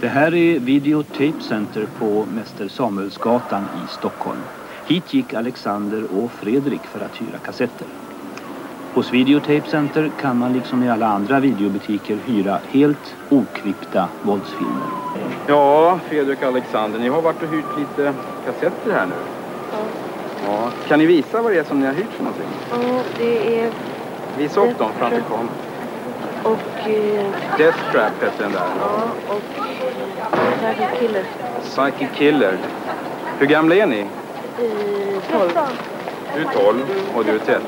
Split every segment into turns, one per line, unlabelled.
Det här är Video Tape Center på Mäster Samuelsgatan i Stockholm. Hit gick Alexander och Fredrik för att hyra kassetter. Hos Video Tape Center kan man liksom i alla andra videobutiker hyra helt oklippta våldsfilmer.
Ja, Fredrik och Alexander, ni har varit och hyrt lite kassetter här nu.
Ja.
Ja. Kan ni visa vad det är som ni har hyrt för någonting?
Ja, det är...
Visa upp dem framför kom.
Och... eh,
Death Trap hette den där.
Ja, och... Psycho Killer.
Psychic Killer. Hur gamla är ni?
I 12.
Du är 12 och du är 13.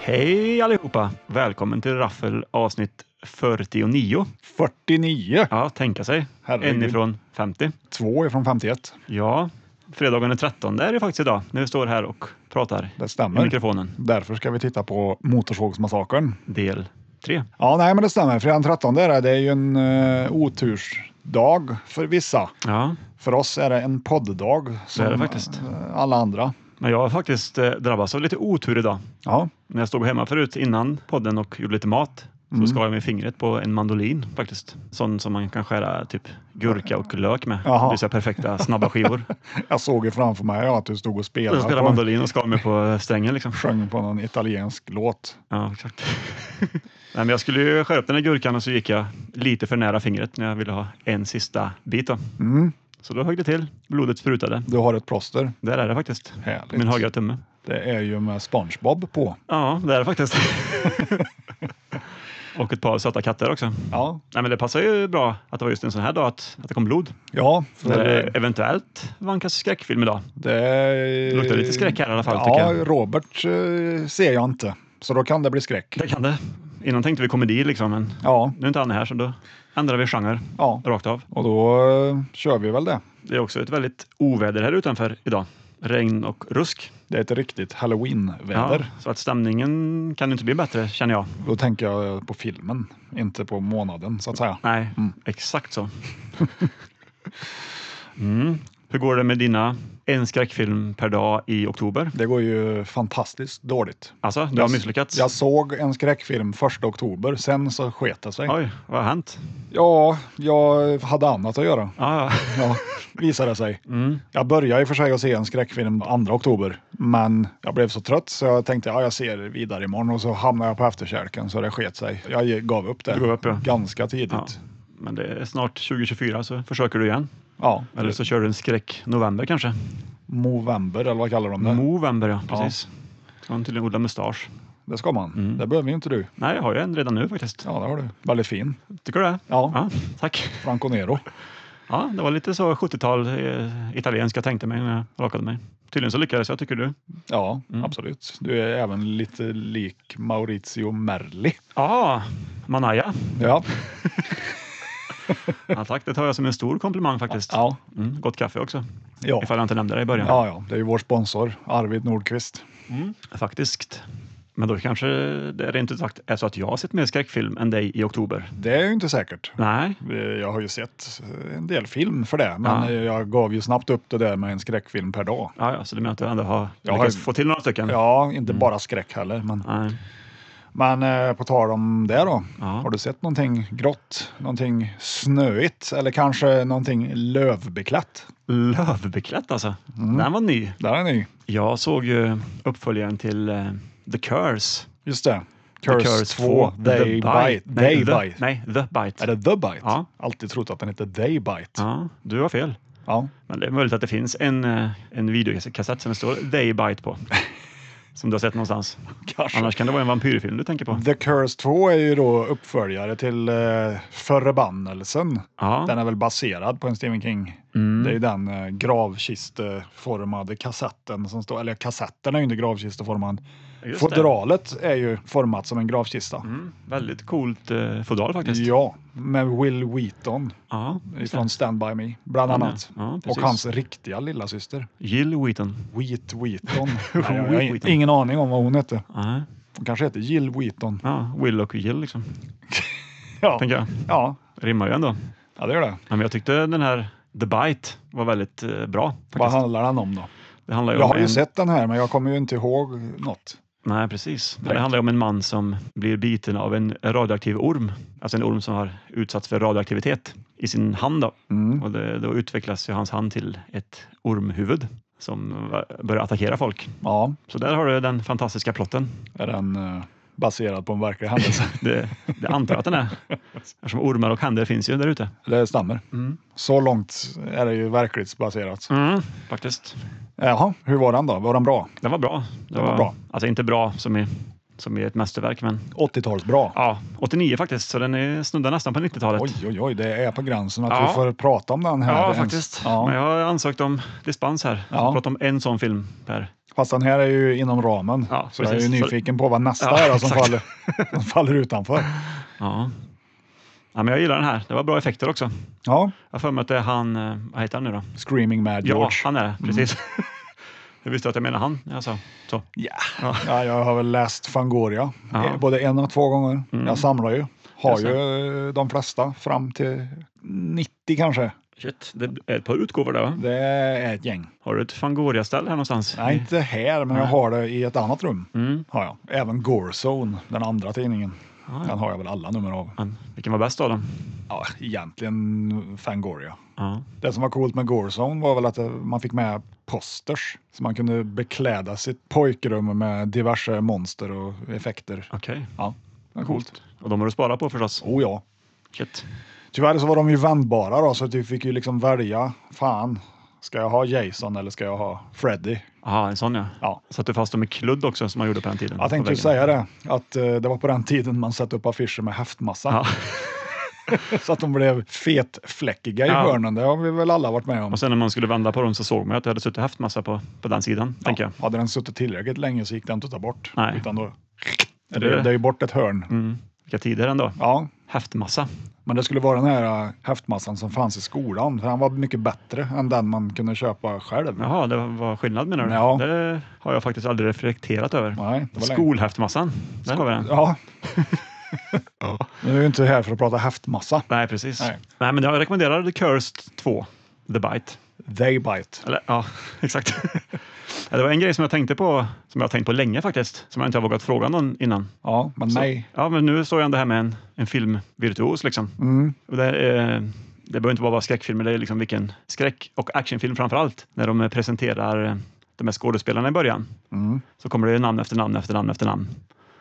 Hej allihopa! Välkommen till Raffel avsnitt 49.
49.
Ja, tänka sig. En
Herregud.
ifrån 50.
Två är från 51.
Ja, fredagen den 13 är det faktiskt idag när vi står här och pratar
Det
i
stämmer.
mikrofonen.
Därför ska vi titta på Motorsågsmassakern.
Del 3.
Ja, nej, men det stämmer. Fredag den 13 är det. Det är ju en uh, otursdag för vissa.
Ja,
För oss är det en podddag som
är det faktiskt.
eh, alla andra.
men jag har faktiskt eh, drabbats av lite otur idag.
Ja,
När jag stod hemma förut innan podden och gjorde lite mat så
Mm.
skar jag med fingret på en mandolin faktiskt. Sån som man kan skära typ gurka och lök med.
Jaha.
Det vill säga perfekta snabba skivor.
jag såg ju framför mig ja, att du stod och spelade,
Jag spelade
på,
mandolin och skar mig på strängen liksom.
sjöng på någon italiensk låt.
Ja, exakt. Nej, men jag skulle ju skära upp den här gurkan och så gick jag lite för nära fingret när jag ville ha en sista bit. Då.
Mm,
Så då högg det till. Blodet sprutade.
du har ett plåster.
Där är det faktiskt.
Härligt.
Min högra tumme.
Det är ju med SpongeBob på.
Ja, där är det faktiskt. och ett par söta katter också.
Ja,
Nej, men det passar ju bra att det var just en sån här dag att, att det kom blod.
ja
När
för
det
det,
eventuellt var en kanske skräckfilm idag.
det
luktar lite skräck här i alla fall,
Eh, Ja,
tycker jag.
Robert eh, ser jag inte, så då kan det bli skräck.
Det kan det. Innan tänkte vi komedi liksom, men
Ja,
nu är inte han här så då ändrar vi genre
ja.
rakt av.
Och då eh, kör vi väl det.
Det är också ett väldigt oväder här utanför idag. Regn och rusk.
Det är ett riktigt halloween-väder.
Ja, så att stämningen kan inte bli bättre känner jag.
Då tänker jag på filmen, inte på månaden så att säga.
Nej, exakt så. mm. Hur går det med dina en skräckfilm per dag i oktober?
Det går ju fantastiskt dåligt.
Alltså, du har misslyckats?
Jag såg en skräckfilm 1 oktober, sen så sket det sig.
Oj, vad har hänt?
Ja, jag hade annat att göra.
Ja, ja.
Ja, visade det sig.
Mm.
Jag började i och för sig att se en skräckfilm 2 oktober, men jag blev så trött så jag tänkte ja, jag ser vidare imorgon och så hamnade jag på efterkälken så det sket sig. Jag ge- gav upp det
Du gav upp, ja.
ganska tidigt.
ja.
Ja.
Men det är snart 2024 så försöker du igen. Eller så kör du en skräck november kanske.
Movember eller vad kallar de det?
Movember, ja. Precis. Ska man tydligen odla mustasch.
det ska man.
Mm.
Det behöver ju inte du.
Nej, jag har ju en redan nu faktiskt.
Ja, det har du. Väldigt fin.
Tycker du det?
Ja.
ja tack.
Franco Nero.
Ja, det var lite så 70-tal eh, italiensk jag tänkte mig när jag rakade mig. Tydligen så lyckades jag, tycker du?
Ja,
Mm.
absolut. Du är även lite lik Maurizio Merli.
Ja, Manaya.
Ja,
Ja, tack, det tar jag som en stor komplimang faktiskt.
ja,
Mm, gott kaffe också,
ja.
ifall jag inte nämnde det i början.
Ja, ja, det är ju vår sponsor Arvid Nordqvist.
Faktiskt. Men då kanske det rent ut sagt är så att jag har sett mer skräckfilm än dig i oktober.
Det är ju inte säkert.
Nej,
Eh, Jag har ju sett eh, en del film för det, men
Ja.
eh, jag gav ju snabbt upp det där med en skräckfilm per dag.
ja, ja, så du menar att jag ändå har
Jag har
lyckats
ju-
få till några stycken?
Ja,
Mm.
inte bara skräck heller. Men,
Nej.
men eh, på tal om det då.
Ja.
Har du sett någonting grått, någonting snöigt eller kanske någonting lövbeklätt?
Lövbeklätt alltså.
Mm.
Den var ny.
Där är ni.
Jag såg ju uppföljaren till eh, The Curse.
Just det.
The
Curse, 2, They Bite. They
Nej, the,
Bite.
nej, The Bite.
Är det The Bite?
Ja.
Alltid trott att den heter They Bite.
Ja, du har fel.
Ja.
Men det är möjligt att det finns en, eh, en videokassett som det står They Bite på. Som du har sett någonstans.
Kanske.
Annars kan det vara en vampyrfilm du tänker på.
The Curse 2 är ju då uppföljare till eh, Förbannelsen. Den
Ja, Mm.
är väl baserad på en Stephen King. Det är ju den eh, gravkisteformade kassetten som står, eller kassetten är ju inte gravkisteformad.
just det.
Fodralet är ju format som en gravkista.
Mm, väldigt coolt eh, fodral faktiskt.
Ja, med Will Wheaton
Ja, just det.
från Stand By Me, bland
Han är-
annat.
ja, precis.
och hans riktiga lilla syster.
Jill Wheaton.
Wheat Wheaton. Nej, jag har
Wheat Wheaton.
ingen aning om vad hon hette.
Ja,
Hon kanske heter Jill Wheaton.
ja, Will och Jill liksom.
Ja,
Tänker jag.
ja.
Rimmar ju ändå.
ja det gör det.
Ja, men jag tyckte den här The Bite var väldigt eh, bra. Faktiskt.
Vad handlar den om då?
Det handlar ju
Jag
om
har ju
en...
sett den här, men jag kommer ju inte ihåg något.
Nej, precis. Men det
Direkt.
handlar ju om en man som blir biten av en radioaktiv orm. Alltså en orm som har utsatts för radioaktivitet i sin hand. Då,
Mm.
och det, då utvecklas ju hans hand till ett ormhuvud som va- börjar attackera folk.
Ja,
Så där har du den fantastiska plotten.
är den eh, baserad på en verklig händelse?
Det, det antar jag att den är. Eftersom ormar och händer finns ju där ute.
det stämmer.
Mm.
Så långt är det ju verklighetsbaserat.
Mm, faktiskt.
Jaha, hur var den då? Var den bra?
Den var bra. Det
Den var bra.
Alltså inte bra som i, som i ett mästerverk, men
80-tals bra.
ja, 89 faktiskt. Så den är snuddar nästan på 90-talet.
Oj, oj, oj, det är på gränsen att
Ja.
vi får prata om den här.
Ja,
ens.
faktiskt. Men
Ja.
jag har ansökt om dispens här.
Ja.
Jag ska prata om en sån film per.
Fast den här är ju inom ramen,
Ja,
så jag är ju
precis. Så-
nyfiken på vad nästa
Ja,
är då, som,
exakt.
faller, som faller utanför.
Ja. ja, men jag gillar den här. Det var bra effekter också.
Ja,
Jag har för mig att det är han, eh, vad heter han nu då?
Screaming Mad
Ja,
George.
han är det. Precis. Jag visste att jag menade han när jag sa så.
Ja.
Ja.
Ja, jag har väl läst Fangoria
Ja. Mm.
eh, både en och två gånger. Jag samlar ju. Har
Jag
ju eh, de flesta fram till 90 kanske.
Shit, det är ett par utgåvor där va?
Det är ett gäng.
Har du ett Fangoria-ställ här någonstans?
Nej, inte här, men jag har det i ett annat rum.
Mm.
Har jag. Även Gorezone, den andra tidningen.
Ja,
Den har jag väl alla nummer av.
Men vilken var bäst av dem?
Ja, egentligen Fangoria.
Ja.
Det som var coolt med Gorezone var väl att eh, man fick med posters. Så man kunde bekläda sitt pojkrum med diverse monster och effekter.
Okej,
Ja, det var coolt.
och de har du sparat på förstås?
Oh ja.
Shit.
Tyvärr så var de ju vändbara då, så att vi fick ju liksom välja. Fan, ska jag ha Jason eller ska jag ha Freddy?
Jaha, en sån ja.
Ja.
Satte fast dem i kludd också som man gjorde på den tiden.
Jag tänkte ju
På väggen.
säga det, att eh, det var på den tiden man satte upp affischer med häftmassa.
Ja.
så att de blev fetfläckiga i
Ja.
hörnen, det har vi väl alla varit med om.
Och sen när man skulle vända på dem så såg man att det hade suttit haft massa på, på den sidan, tänker jag.
Hade den suttit tillräckligt länge så gick den inte att ta bort.
Nej.
Utan då, det,
Det-
det är ju bort ett hörn.
Mm. Vilka tider ändå.
Ja,
Häftmassa.
men det skulle vara den här eh, häftmassan som fanns i skolan, för den var mycket bättre än den man kunde köpa själv.
Jaha, det var skillnad menar du?
Ja.
Det har jag faktiskt aldrig reflekterat över.
Nej, det var länge.
Skolhäftmassan, där har vi den.
Ja. Nu är vi inte här för att prata häftmassa.
Nej, precis.
Nej.
Nej. men jag rekommenderar The Cursed 2, The Bite.
They bite.
Eller, ja, exakt. Ja, det var en grej som jag tänkte på, som jag har tänkt på länge faktiskt, som jag inte har vågat fråga någon innan.
Ja, men nej.
Ja, men nu står jag ändå här med en, en filmvirtuos liksom.
Mm.
Och det, är, eh, det behöver inte bara vara skräckfilmer, det är liksom vilken skräck och actionfilm framför allt. När de eh, presenterar eh, de här skådespelarna i början
Mm.
så kommer det namn efter namn efter namn efter namn.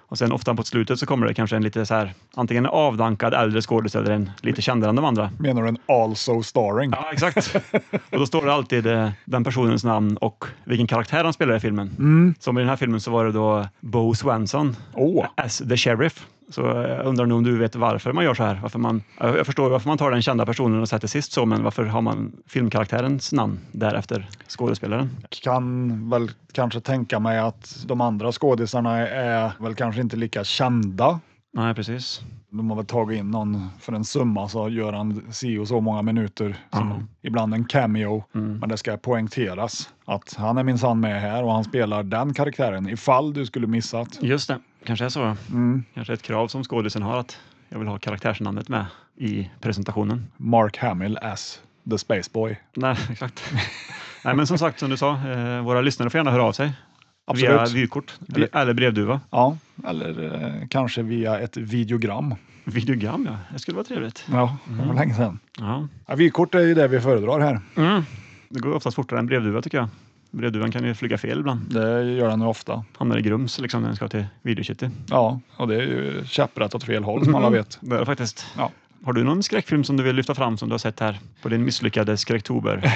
Och sen ofta på slutet så kommer det kanske en lite så här, antingen en avdankad äldre skådis eller en lite kändare än de andra.
Menar du en also starring?
Ja, exakt. Och då står det alltid eh, den personens namn och vilken karaktär han spelar i filmen.
Mm.
Som i den här filmen så var det då Bo Swenson
Åh,
as the sheriff. Så jag undrar nog om du vet varför man gör så här? Varför man, eh, jag jag förstår varför man tar den kända personen och sätter sist så, men varför har man filmkaraktärens namn därefter skådespelaren?
kan väl kanske tänka mig att de andra skådisarna är väl kanske inte lika kända.
Nej, precis.
De har väl tagit in någon för en summa så gör han si och så många minuter. Som
Ja.
Ibland en cameo, men det ska poängteras att han är minsann med här och han spelar den karaktären ifall du skulle missat.
Just det, kanske är så.
Mm.
Kanske ett krav som skådisen har att jag vill ha karaktärsnamnet med i presentationen.
Mark Hamill as The Space Boy.
Nej, exakt. Nej, men som sagt, som du sa, eh, våra lyssnare får gärna höra av sig. Via
Absolut.
vykort eller, eller brevduva.
Ja, eller eh, kanske via ett videogram.
Videogram, ja. Det skulle vara trevligt.
Ja, Mm. det var länge sedan.
Ja.
Ja, vykort är ju det vi föredrar här.
Mm. Det går oftast fortare än brevduva tycker jag. Brevduvan kan ju flyga fel ibland.
Det gör den ju ofta.
hamnar i grums liksom, när den ska till Videokitty.
Ja, och det är ju käpprätt åt fel håll som alla vet.
Det är det faktiskt.
Ja.
Har du någon skräckfilm som du vill lyfta fram som du har sett här på din misslyckade skräcktober?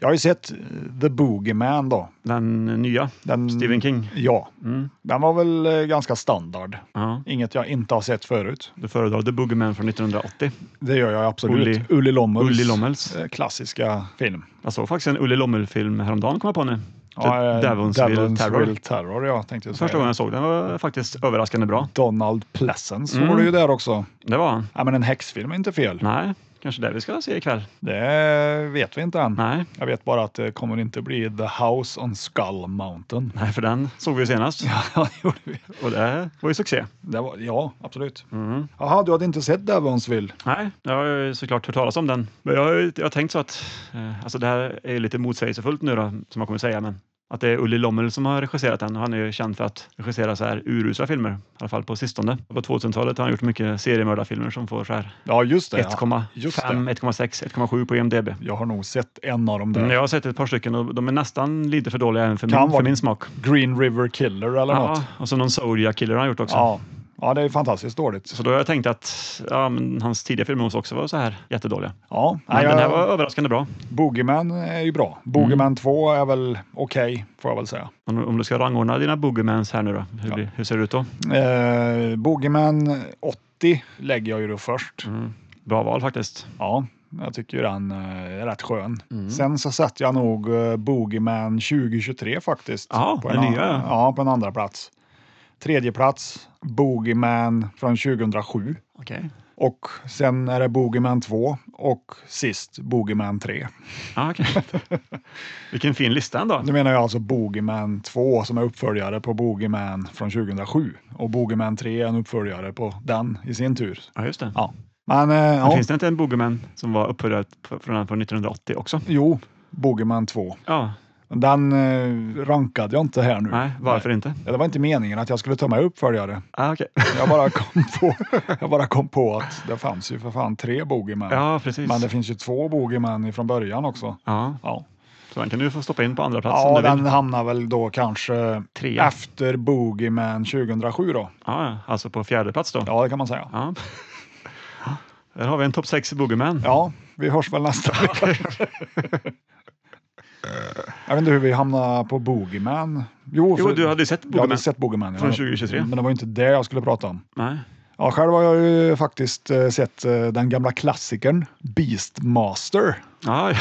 Jag har ju sett eh, The Boogeyman då.
Den nya
Den,
Stephen King.
Ja,
Mm.
den var väl eh, ganska standard.
Ja.
Inget jag inte har sett förut.
Du föredrar The Boogeyman från 1980.
Det gör jag absolut.
Ulli-
Ulli, Lommels,
Ulli Lommels.
eh, klassiska film.
Jag såg faktiskt en Ulli Lommel-film häromdagen kom jag på nu. Typ
Ja, eh,
Devonsville Terror.
Devonsville Terror, ja, tänkte jag säga.
Första gången jag såg den var faktiskt överraskande bra.
Donald Pleasence
Mm.
var det ju där också.
Det var han.
Ja, men en häxfilm är inte fel.
Nej, kanske det vi ska se ikväll.
Det eh, vet vi inte än.
Nej,
Jag vet bara att det kommer inte bli The House on Skull Mountain.
nej för den såg vi senast
Ja, det gjorde vi.
och det var ju succé.
Det var, ja, absolut.
Mm.
Jaha, du hade inte sett Devonsville?
Nej, jag har ju såklart hört talas om den. Men jag har, ju- jag har tänkt så att, eh, alltså det här är ju lite motsägelsefullt nu då, som jag kommer säga, men att det är Ulli Lommel som har regisserat den. Han är ju känd för att regissera så här urusla filmer, i alla fall på sistone. På 2000-talet har han gjort mycket seriemördarfilmer som får så här
Ja, just det. ja.
1,5,
just
1,6, 1,7 på IMDB.
Jag har nog sett en av dem där.
Mm, Jag har sett ett par stycken och de är nästan lite för dåliga även för,
Kan
min, för
vara-
min smak.
Green River Killer eller något.
Ja, och så någon Zodiac Killer har han gjort också.
Ja. ja, det är fantastiskt dåligt.
Så då har jag tänkt att ja, men hans tidiga filmer måste också vara så här jättedåliga.
Ja,
Men
nej,
den här
jag-
var Mm. överraskande bra.
Boogeyman är ju bra. Boogeyman 2 är väl okej, får jag väl säga.
Om, om du ska rangordna dina boogiemans här nu då, hur,
Ja.
blir, hur ser det ut då?
Eh, Boogeyman 80 lägger jag ju då först.
Bra val faktiskt.
Ja, jag tycker ju den eh, är rätt skön.
Mm.
Sen så sätter jag nog eh, Boogeyman 2023 faktiskt.
Ja,
på
den
en, an-
nya, ja.
Ja, på en andra plats. Tredje plats, Boogeyman från 2007.
Okej.
Och sen är det Boogeyman 2 och sist Boogeyman 3.
Ja, okej. Vilken fin lista ändå.
Nu menar jag alltså Boogeyman 2 som är uppföljare på Boogeyman från 2007 och Boogeyman 3 är en uppföljare på den i sin tur.
Ja, just det.
Ja, men eh,
Men
ja,
Finns det inte en boogieman som var uppförd på- från den från 1980 också?
jo, Boogeyman 2.
Ja,
Den eh, rankade jag inte här nu.
nej, varför inte?
Ja, Det var inte meningen att jag skulle ta med uppföljare.
Ah, okej.
Jag bara kom på, jag bara kom på att det fanns ju för fan tre Boogeyman.
Ja, precis.
Men det finns ju två Boogeyman från början också.
Ja,
Ja,
så den kan du få stoppa in på andra plats om
ja
du vill.
den hamnar väl då kanske
Alltså, Trea.
efter Boogeyman 2007 då.
Ja, ja, alltså på fjärde plats då.
Ja, det kan man säga.
Ja. Där har vi en topp 6 boogieman.
Ja, vi hörs väl nästa vecka. Jag vet inte hur vi hamnade på Boogeyman.
Jo,
för-
du hade ju sett
Jag
boogieman.
hade sett Boogeyman. ja.
Från 2023.
Men det var ju inte det jag skulle prata om.
Nej.
Ja, själv har jag ju faktiskt eh, sett eh, den gamla klassikern Beastmaster.
Ja, ja.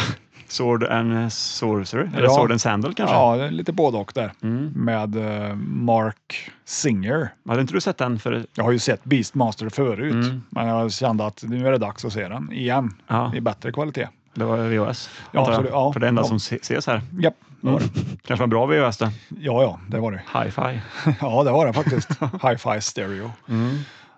Sword and Sorcerer, eller
Ja.
Sword and Sandal kanske?
Ja, det är lite både och där.
Mm.
Med eh, Mark Singer.
Hade inte du sett den för...
Jag har ju sett Beastmaster förut,
Mm.
men jag kände att nu är det dags att se den igen
Ja,
i bättre kvalitet.
det var VHS.
Ja,
antar jag.
absolut. Ja.
För det enda
Ja.
som se- ses här.
Japp, det var
Mm.
det.
Kanske var en bra VHS det.
Ja, ja, det var det.
Hi-fi.
Ja, det var det faktiskt. Hi-Fi Stereo.
Mm.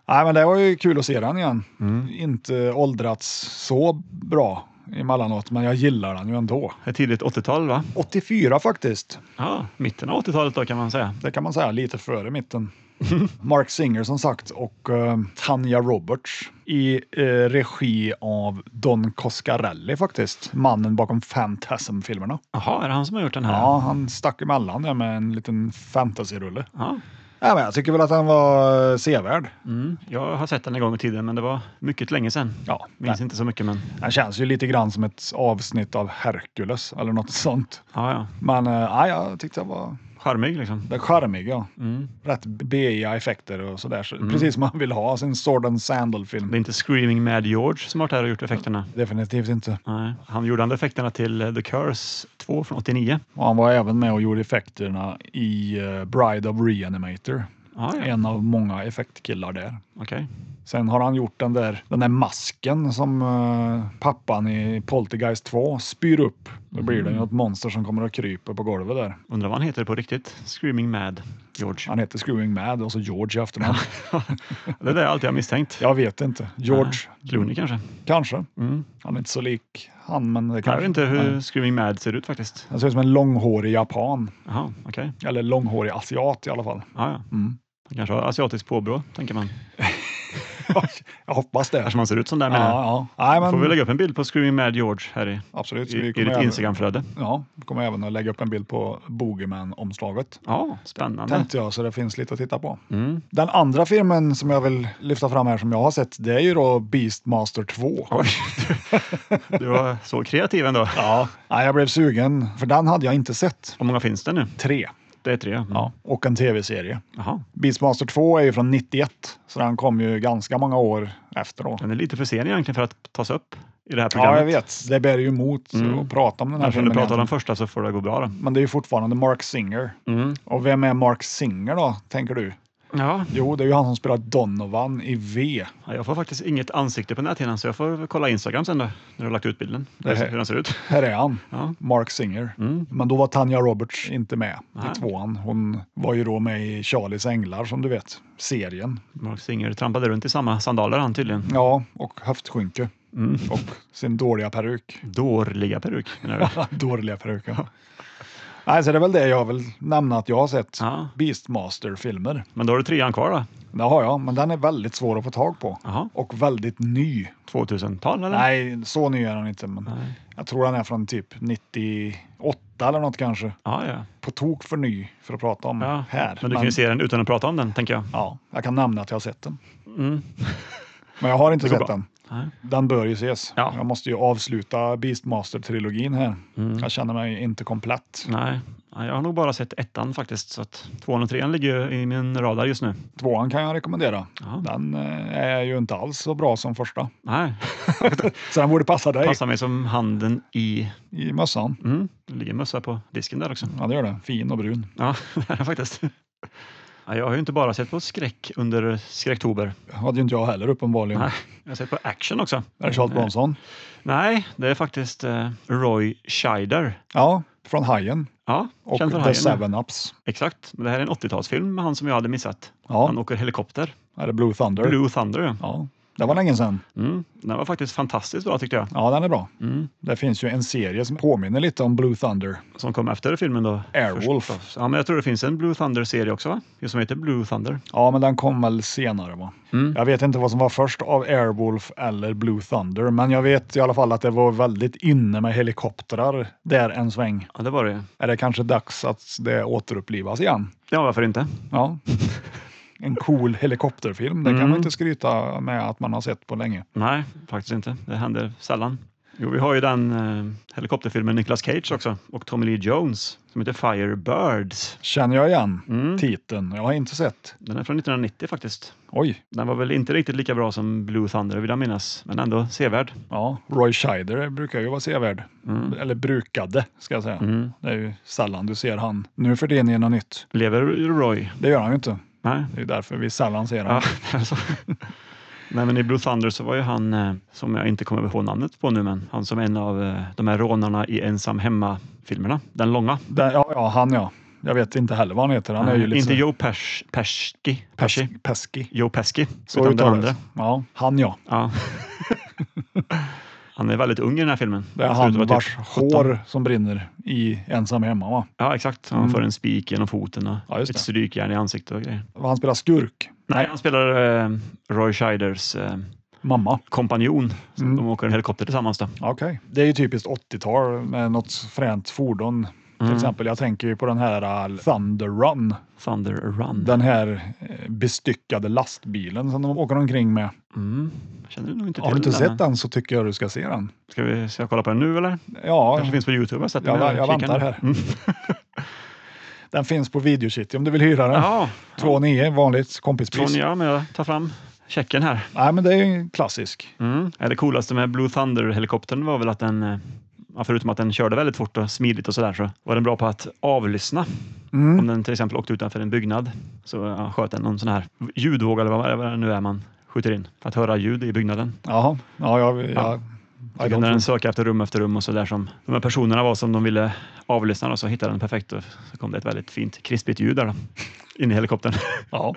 Nej, men det var ju kul att se den igen.
Mm.
Inte åldrats så bra emellanåt, men jag gillar den ju ändå.
Ett tidigt 80-tal va?
84 faktiskt,
Ja, mitten av 80-talet då kan man säga.
det kan man säga, lite före mitten. Mark Singer som sagt och eh, Tanja Roberts i eh, regi av Don Coscarelli faktiskt, mannen bakom Fantasm-filmerna.
Jaha, är det han som har gjort den här?
Ja, han stack emellan där med en liten fantasy-rulle.
Ja.
Ja, men jag tycker väl att han var eh, sevärd.
Mm. Jag har sett den en gång i tiden men det var mycket länge sedan.
Ja,
Minns inte så mycket men...
Den känns ju lite grann som ett avsnitt av Hercules eller något sånt.
Ja, ja.
Men eh, ja, jag tyckte det var
Charmig liksom.
det är charmig, ja.
Mm.
Rätt beiga effekter och sådär. Så Precis som man vill ha sin Sword and
Det
Sandal-film.
är inte Screaming Mad George som har varit här och gjort effekterna.
Definitivt inte.
Nej. Han gjorde andra effekterna till eh, The Curse 2 från 89.
Och han var även med och gjorde effekterna i eh, Bride of Reanimator.
Ah, Ja, ja.
En av många effektkillar där.
Okej.
Sen har han gjort den där, den där masken som eh, pappan i Poltergeist 2 spyr upp. Då blir det
Mm.
ju något monster som kommer och kryper på golvet där.
Undrar vad han heter på riktigt? Screaming Mad George.
Han heter Screwing Mad och så George i efternamn.
Det är det jag alltid har misstänkt. Eh,
Jag vet inte. George,
Clooney kanske?
kanske.
Mm.
Han är inte så lik han, men det
Jag
kanske.
vet inte hur
Nej.
Screaming Mad ser ut faktiskt.
Han ser ut som en långhårig japan.
Jaha, okej.
Eller långhårig asiat i alla fall.
Ja, ja.
Mm.
Han kanske har asiatiskt påbrå, tänker man.
Jag hoppas det.
Kanske man ser ut som där menar jag.
Ja, ja. Nej,
Får vi
men,
lägga upp en bild på Screaming Mad George här i,
absolut. Så
i, i
vi
ditt
kommer, även,
Instagramflöde.
ja, vi kommer även att lägga upp en bild på Boogeyman-omslaget.
Ja, spännande.
Tänkte jag, så det finns lite att titta på.
Mm.
Den andra filmen som jag vill lyfta fram här som jag har sett, det är ju då Beastmaster 2.
Oj, du var så kreativ ändå.
Ja. Nej, jag blev sugen, för den hade jag inte sett.
Hur många finns det nu?
Tre.
Det är tre. Mm.
Ja. Och en tv-serie.
Jaha,
Beastmaster 2 är ju från 91, så den kom ju ganska många år efter då.
den är lite för sen egentligen för att tas upp i det här Mm. programmet.
Ja, jag vet. Det bär ju emot
Mm.
att prata om den här
Eftersom du
filmen.
pratar om den
egentligen.
första så får det gå bra då.
Men det är ju fortfarande Mark Singer.
Mm.
Och vem är Mark Singer då, tänker du?
Ja,
Jo, det är ju han som spelar Donovan i V.
jag får faktiskt inget ansikte på den här tiden så jag får kolla Instagram sen då, när du har lagt ut bilden.
Det här-
Hur den ser ut.
Här är han,
Ja.
Mark Singer.
Mm.
Men då var Tanja Roberts inte med
Nej.
i tvåan. Hon var ju då med i Charlies Änglar som du vet, serien.
Mark Singer trampade runt i samma sandaler han tydligen.
Ja, och höftskynke
Mm.
och sin dåliga peruk.
Dårliga peruk menar jag.
dåliga peruken. Nej, så det är väl det jag vill nämna att jag har sett.
Ja.
Beastmaster-filmer.
Men då har du trean kvar då?
Det har jag, men den är väldigt svår att få tag på.
Jaha,
Och väldigt ny.
2000-tal eller?
Nej, så ny är den inte, men
Nej.
jag tror den är från typ 98 eller något kanske.
Ja, ja.
På tok för ny för att prata om
ja.
Mm. här.
Men du kan ju se den utan att prata om den, tänker jag.
Ja, jag kan nämna att jag har sett den.
Mm.
Men jag har inte
Det går
sett
bra.
den.
Nej.
Den bör ju ses.
Ja.
Jag måste ju avsluta Beastmaster-trilogin här.
Mm.
Jag känner mig inte komplett.
Nej. Nej, jag har nog bara sett ettan faktiskt, så att tvåan och trean ligger ju i min radar just nu.
Tvåan kan jag rekommendera.
Ja.
Den eh, är ju inte alls så bra som första.
Nej,
Så den borde passa dig
passar mig som handen i...
i mössan.
Mm. Det ligger mössa på disken där också.
Ja, det gör det. Fin och brun.
Ja, det är den faktiskt. Ja, jag har ju inte bara sett på skräck under skräcktober.
hade ju inte jag heller uppenbarligen.
Nej. Jag har sett på action också. Eh,
Är det Charles Bronson?
Nej, det är faktiskt eh, Roy Scheider.
Ja, från Hajen
Ja,
och
känd för
The
Hajen.
Seven Ups.
Exakt, men det här är en 80-talsfilm med han som jag hade missat. Han
Ja,
åker helikopter.
är det Blue Thunder?
Blue Thunder. ja.
Ja, det var länge sedan.
Mm. Den var faktiskt fantastiskt bra tyckte jag.
Ja, den är bra.
Mm.
Det finns ju en serie som påminner lite om Blue Thunder.
Som kom efter filmen då.
Airwolf.
förstås. Ja, men jag tror det finns en Blue Thunder-serie också, va? Just som heter Blue Thunder.
Ja, men den kom väl senare va?
Mm.
Jag vet inte vad som var först av Airwolf eller Blue Thunder, men jag vet i alla fall att det var väldigt inne med helikoptrar där en sväng.
Ja, det var det.
Är det kanske dags att det återupplivas igen?
Ja, varför inte?
Ja. En cool helikopterfilm, det kan
Mm.
man inte skryta med att man har sett på länge.
Nej, faktiskt inte. Det händer sällan. Jo, vi har ju den eh, helikopterfilmen Nicolas Cage också och Tommy Lee Jones som heter Firebirds.
Känner jag igen
Mm.
titeln? Jag har inte sett.
Den är från 1990 faktiskt.
Oj,
Den var väl inte riktigt lika bra som Blue Thunder vill jag minnas, men ändå sevärd.
ja, Roy Scheider brukar ju vara sevärd.
Mm.
Eller brukade, ska jag säga.
Mm.
Det är ju sällan du ser han nu för tiden i något nytt.
Lever Roy?
Det gör han ju inte.
Nej.
Det är ju därför vi sällan ser honom.
Ja, det är så. Nej, men i Blue Thunder så var ju han, eh, som jag inte kommer ihåg namnet på nu, men han som en av eh, de här rånarna i Ensam Hemma-filmerna. Den långa. Eh,
Den, ja, ja, han ja. Jag vet inte heller vad han heter. Han är ju lite
inte
så-
Joe Pers- Pesci. Pesci.
pes- pesky.
Joe Pesci.
Så
utan den
uttalas.
andra.
Ja, han ja.
Ja. Han är väldigt ung i den här filmen.
Det är
ser ut att vara
han vars
typ 17.
hår som brinner i Ensam hemma va?
Ja, exakt. Han får en spik genom foten och
Mm. Ja, just
ett
det.
strykjärn i ansiktet och grejer.
Och Han spelar skurk.
Nej, han spelar eh, Roy Scheiders eh,
Mamma.
kompanjon. Så
Mm.
De åker en helikopter tillsammans. Då.
Okej. Det är ju typiskt 80-tal med något fränt fordon.
Mm.
Till exempel, jag tänker ju på den här eh, Thunder Run.
Thunder Run.
Den här eh, bestyckade lastbilen som de åker omkring med.
Mm. Jag Känner nog inte till
Har du inte
den, men-
sett den så tycker jag du ska se den.
Ska, vi, ska jag kolla på den nu eller?
Ja,
Kanske finns på Youtube. Jag, har sett
Jag
den,
va- jag
kikar
väntar
nu.
här.
Mm.
den finns på Video City om du vill hyra den.
Ja,
2,9 vanligt
från
kompispris.
jag, men jag tar fram checken här.
Nej, men det är en klassisk.
Mm. Ja, Det coolaste med Blue Thunder-helikoptern var väl att den, eh, ja, förutom att den körde väldigt fort och smidigt och sådär, så var den bra på att avlyssna. Om
Mm.
den till exempel åkte utanför en byggnad så ja, sköt den någon sån här ljudvåg eller vad vad det nu är man skjuter in för att höra ljud i byggnaden.
Jaha, ja, jag,
Ja.
jag,
Så
I
kunde
don't
den söka efter rum efter rum och så där som de här personerna var som de ville avlyssna och så hittade den perfekt och så kom det ett väldigt fint krispigt ljud där då, in i helikoptern.
ja.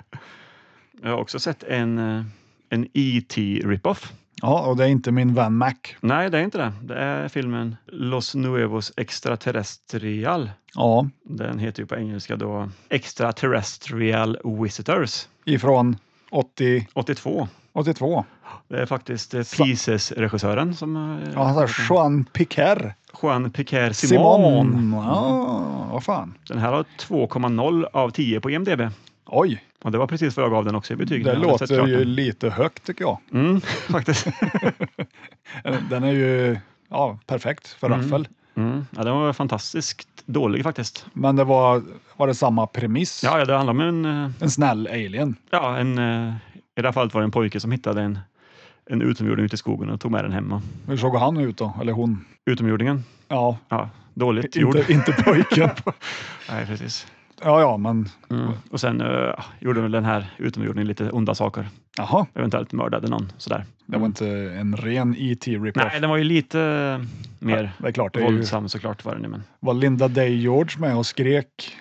Jag har också sett en, eh, en E.T. rip-off.
ja, och det är inte min vän Mac.
Nej, det är inte det. Det är filmen Los Nuevos Extraterrestrial.
Ja,
Den heter ju på engelska då Extraterrestrial Visitors.
ifrån 80,
82.
82.
Det är faktiskt eh, Pieces-regissören som... eh,
Ja, han sa Jean Piquer.
Jean Picaire Simon.
Simon. Ja, vad fan.
Den här har 2,0 av 10 på IMDB.
Oj,
Och det var precis vad jag gav den också i betyg. när
det
jag hade sett
låter
klart
ju
den.
lite högt tycker jag.
Mm, faktiskt.
Den är ju ja, perfekt för raffel.
Mm. Ja, den var fantastiskt dålig faktiskt.
Men det var, var det samma premiss?
Ja, ja, det handlar om en, eh,
En snäll alien.
ja, en, eh, i det här fallet var det en pojke som hittade en, en utomjording ute i skogen och tog med den hemma.
Hur såg han ut då? Eller hon?
Utomjordingen,
Ja,
ja, dåligt gjord.
inte, inte pojken.
Nej, precis.
Ja, ja, men
Mm. Och sen eh, gjorde väl den här utomjordingen lite onda saker.
jaha.
Eventuellt mördade någon sådär.
Det var inte en ren E E.T.-rip-off.
Mm. Nej, den var ju lite eh, mer
det är klart. Det är ju,
våldsam såklart var den ju, men
var Linda Day-George med och skrek?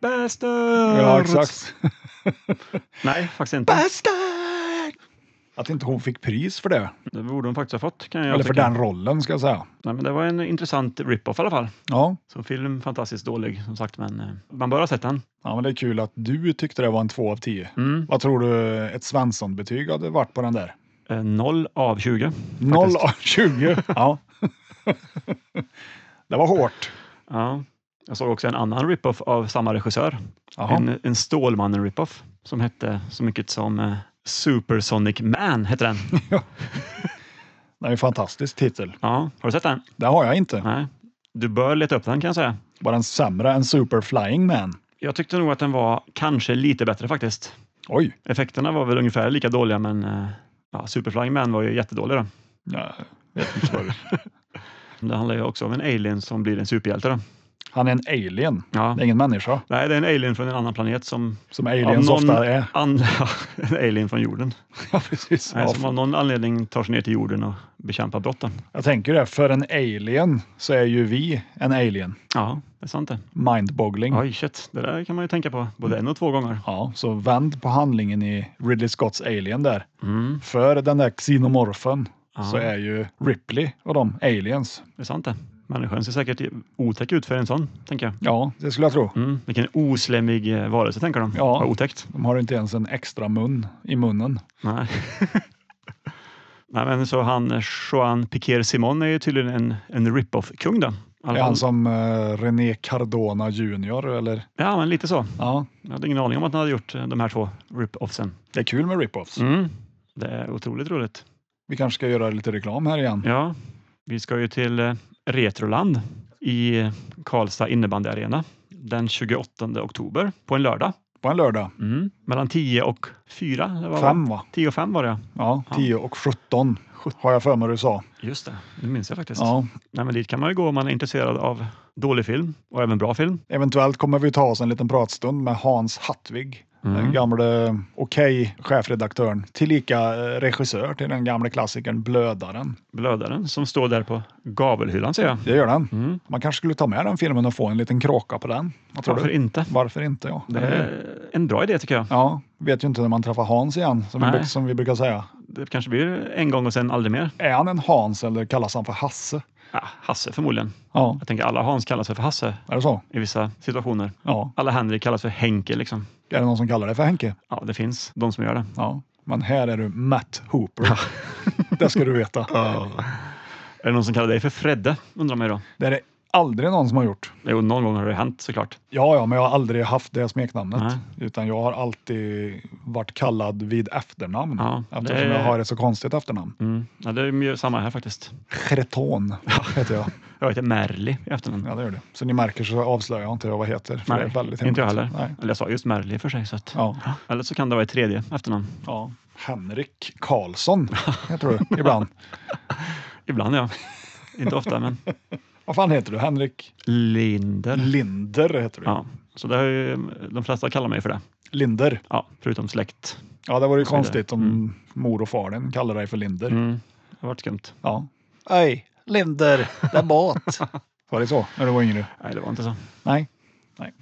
Bastard!
Ja, exakt.
Nej, faktiskt inte.
Att inte hon fick pris för det.
Det borde hon faktiskt ha fått kan jag
Eller för
tycka.
den rollen ska jag säga.
Nej, men det var en intressant rip-off i alla fall.
Ja.
Som film fantastiskt dålig som sagt, men eh, man bör ha sett den.
ja, men det är kul att du tyckte det var en 2 av 10.
Mm.
Vad tror du ett Svensson-betyg hade varit på den där?
Eh, 0 av 20.
0 av 20. Ja. det var hårt.
Ja. Jag såg också en annan rip-off av samma regissör.
Jaha.
En, en Stålmannen rip-off som hette så mycket som eh, Supersonic Man hette den.
Det är en fantastisk titel.
Ja, har du sett den?
Det har jag inte.
Nej. Du bör leta upp den kan jag säga.
Var den sämre än Super Flying Man?
Jag tyckte nog att den var kanske lite bättre faktiskt.
Oj.
Effekterna var väl ungefär lika dåliga, men eh, ja, Superflying Man var ju jättedålig. Då.
Ja, jag vet inte vad det-
Det handlar ju också om en alien som blir en superhjälte. Då.
Han är en alien.
Ja.
Det är ingen människa,
Nej, det är en alien från en annan planet som...
som aliens
av någon
ofta är.
An... ja, en alien från jorden.
Ja, precis.
Nej,
Ja,
som av någon anledning tar sig ner till jorden och bekämpar brotten.
Jag tänker det, för en alien så är ju vi en alien.
Ja, Mm. det är sant det.
Mindboggling.
Oj, shit. Det där kan man ju tänka på både en och två gånger.
Ja, så vänd på handlingen i Ridley Scotts Alien där.
Mm,
För den där xenomorfen
Ja.
så är ju Ripley och de aliens.
det är sant det. Människan ser säkert otäck ut för en sån, tänker jag.
Ja, det skulle jag tro.
Mm, vilken oslämmig eh, varelse, tänker de.
Ja.
Vad otäckt.
De har inte ens en extra mun i munnen.
Nej. Nej, men så han eh, Joan Piquer Simon är ju tydligen en, en rip-off-kung då.
Det är han som eh, René Cardona Junior eller?
Ja, men lite så.
Ja,
Jag hade ingen aning om att han hade gjort eh, de här två rip-offsen.
det är kul med rip-offs.
Mm. Det är otroligt roligt.
Vi kanske ska göra lite reklam här igen.
Ja, vi ska ju till eh, Retroland i eh, Karlstad innebandyarena den 28 oktober på en lördag.
På en lördag.
Mm. Mellan 10 och 4. Det var
Fem va?
10 och 5 var det,
Ja, 10 och 17 har jag för mig du sa.
Just det, det minns jag faktiskt.
Ja.
Nej, men dit kan man ju gå om man är intresserad av dålig film och även bra film.
Eventuellt kommer vi ta oss en liten pratstund med Hans Hattvig,
Mm.
den gamle Okej-chefredaktören, tillika eh, regissör till den gamle klassikern Blödaren.
Blödaren som står där på gavelhyllan ser jag.
Det gör den.
Mm.
Man kanske skulle ta med den filmen och få en liten kråka på den. Vad tror
Varför
du?
inte?
Varför inte? Ja.
Det är en bra idé tycker jag.
ja, vet ju inte när man träffar Hans igen, som, vi,
Nej.
bruk- som vi brukar säga.
Det kanske blir en gång och sen aldrig mer.
Är han en Hans eller kallas han för Hasse?
Ja, Hasse förmodligen.
Ja,
Jag tänker alla Hans kallas väl för Hasse
är det så?
i vissa situationer.
Ja.
Alla Henrik kallas för Henke liksom.
Är det någon som kallar det för Henke?
Ja, det finns de som gör det.
Ja. Men här är du Matt Hooper. det ska du veta.
Är det någon som kallar dig för Fredde? Undrar man ju då.
Det är det aldrig någon som har gjort.
Jo, någon gång har det hänt såklart.
Ja, ja, men jag har aldrig haft det smeknamnet.
Nej.
Utan jag har alltid varit kallad vid efternamn.
Ja,
eftersom
det-
jag har ett så konstigt efternamn.
Mm. Ja, det är ju samma här faktiskt.
Creton heter jag.
Jag heter Merli i efternamn.
Ja, det gör det. Så ni märker så avslöjar jag inte vad jag heter. För det är väldigt
inte jag
hemligt.
heller.
Nej.
Eller jag sa just Merli för sig. Så att...
Ja.
Eller så kan det vara ett tredje efternamn.
Ja. Henrik Karlsson heter du ibland.
Ibland ja. Inte ofta, men
Vad fan heter du? Henrik
Linder.
Linder heter du.
Ja, så det har ju, de flesta kallar mig för det.
Linder.
Ja, förutom släkt.
Ja, det vore ju
vidare.
konstigt om mor och far den kallar dig för Linder.
Mm. Det har varit skumt.
Ja. Öj, Linder, det är båt. Var det så när du var yngre?
Nej, det var inte så.
Nej.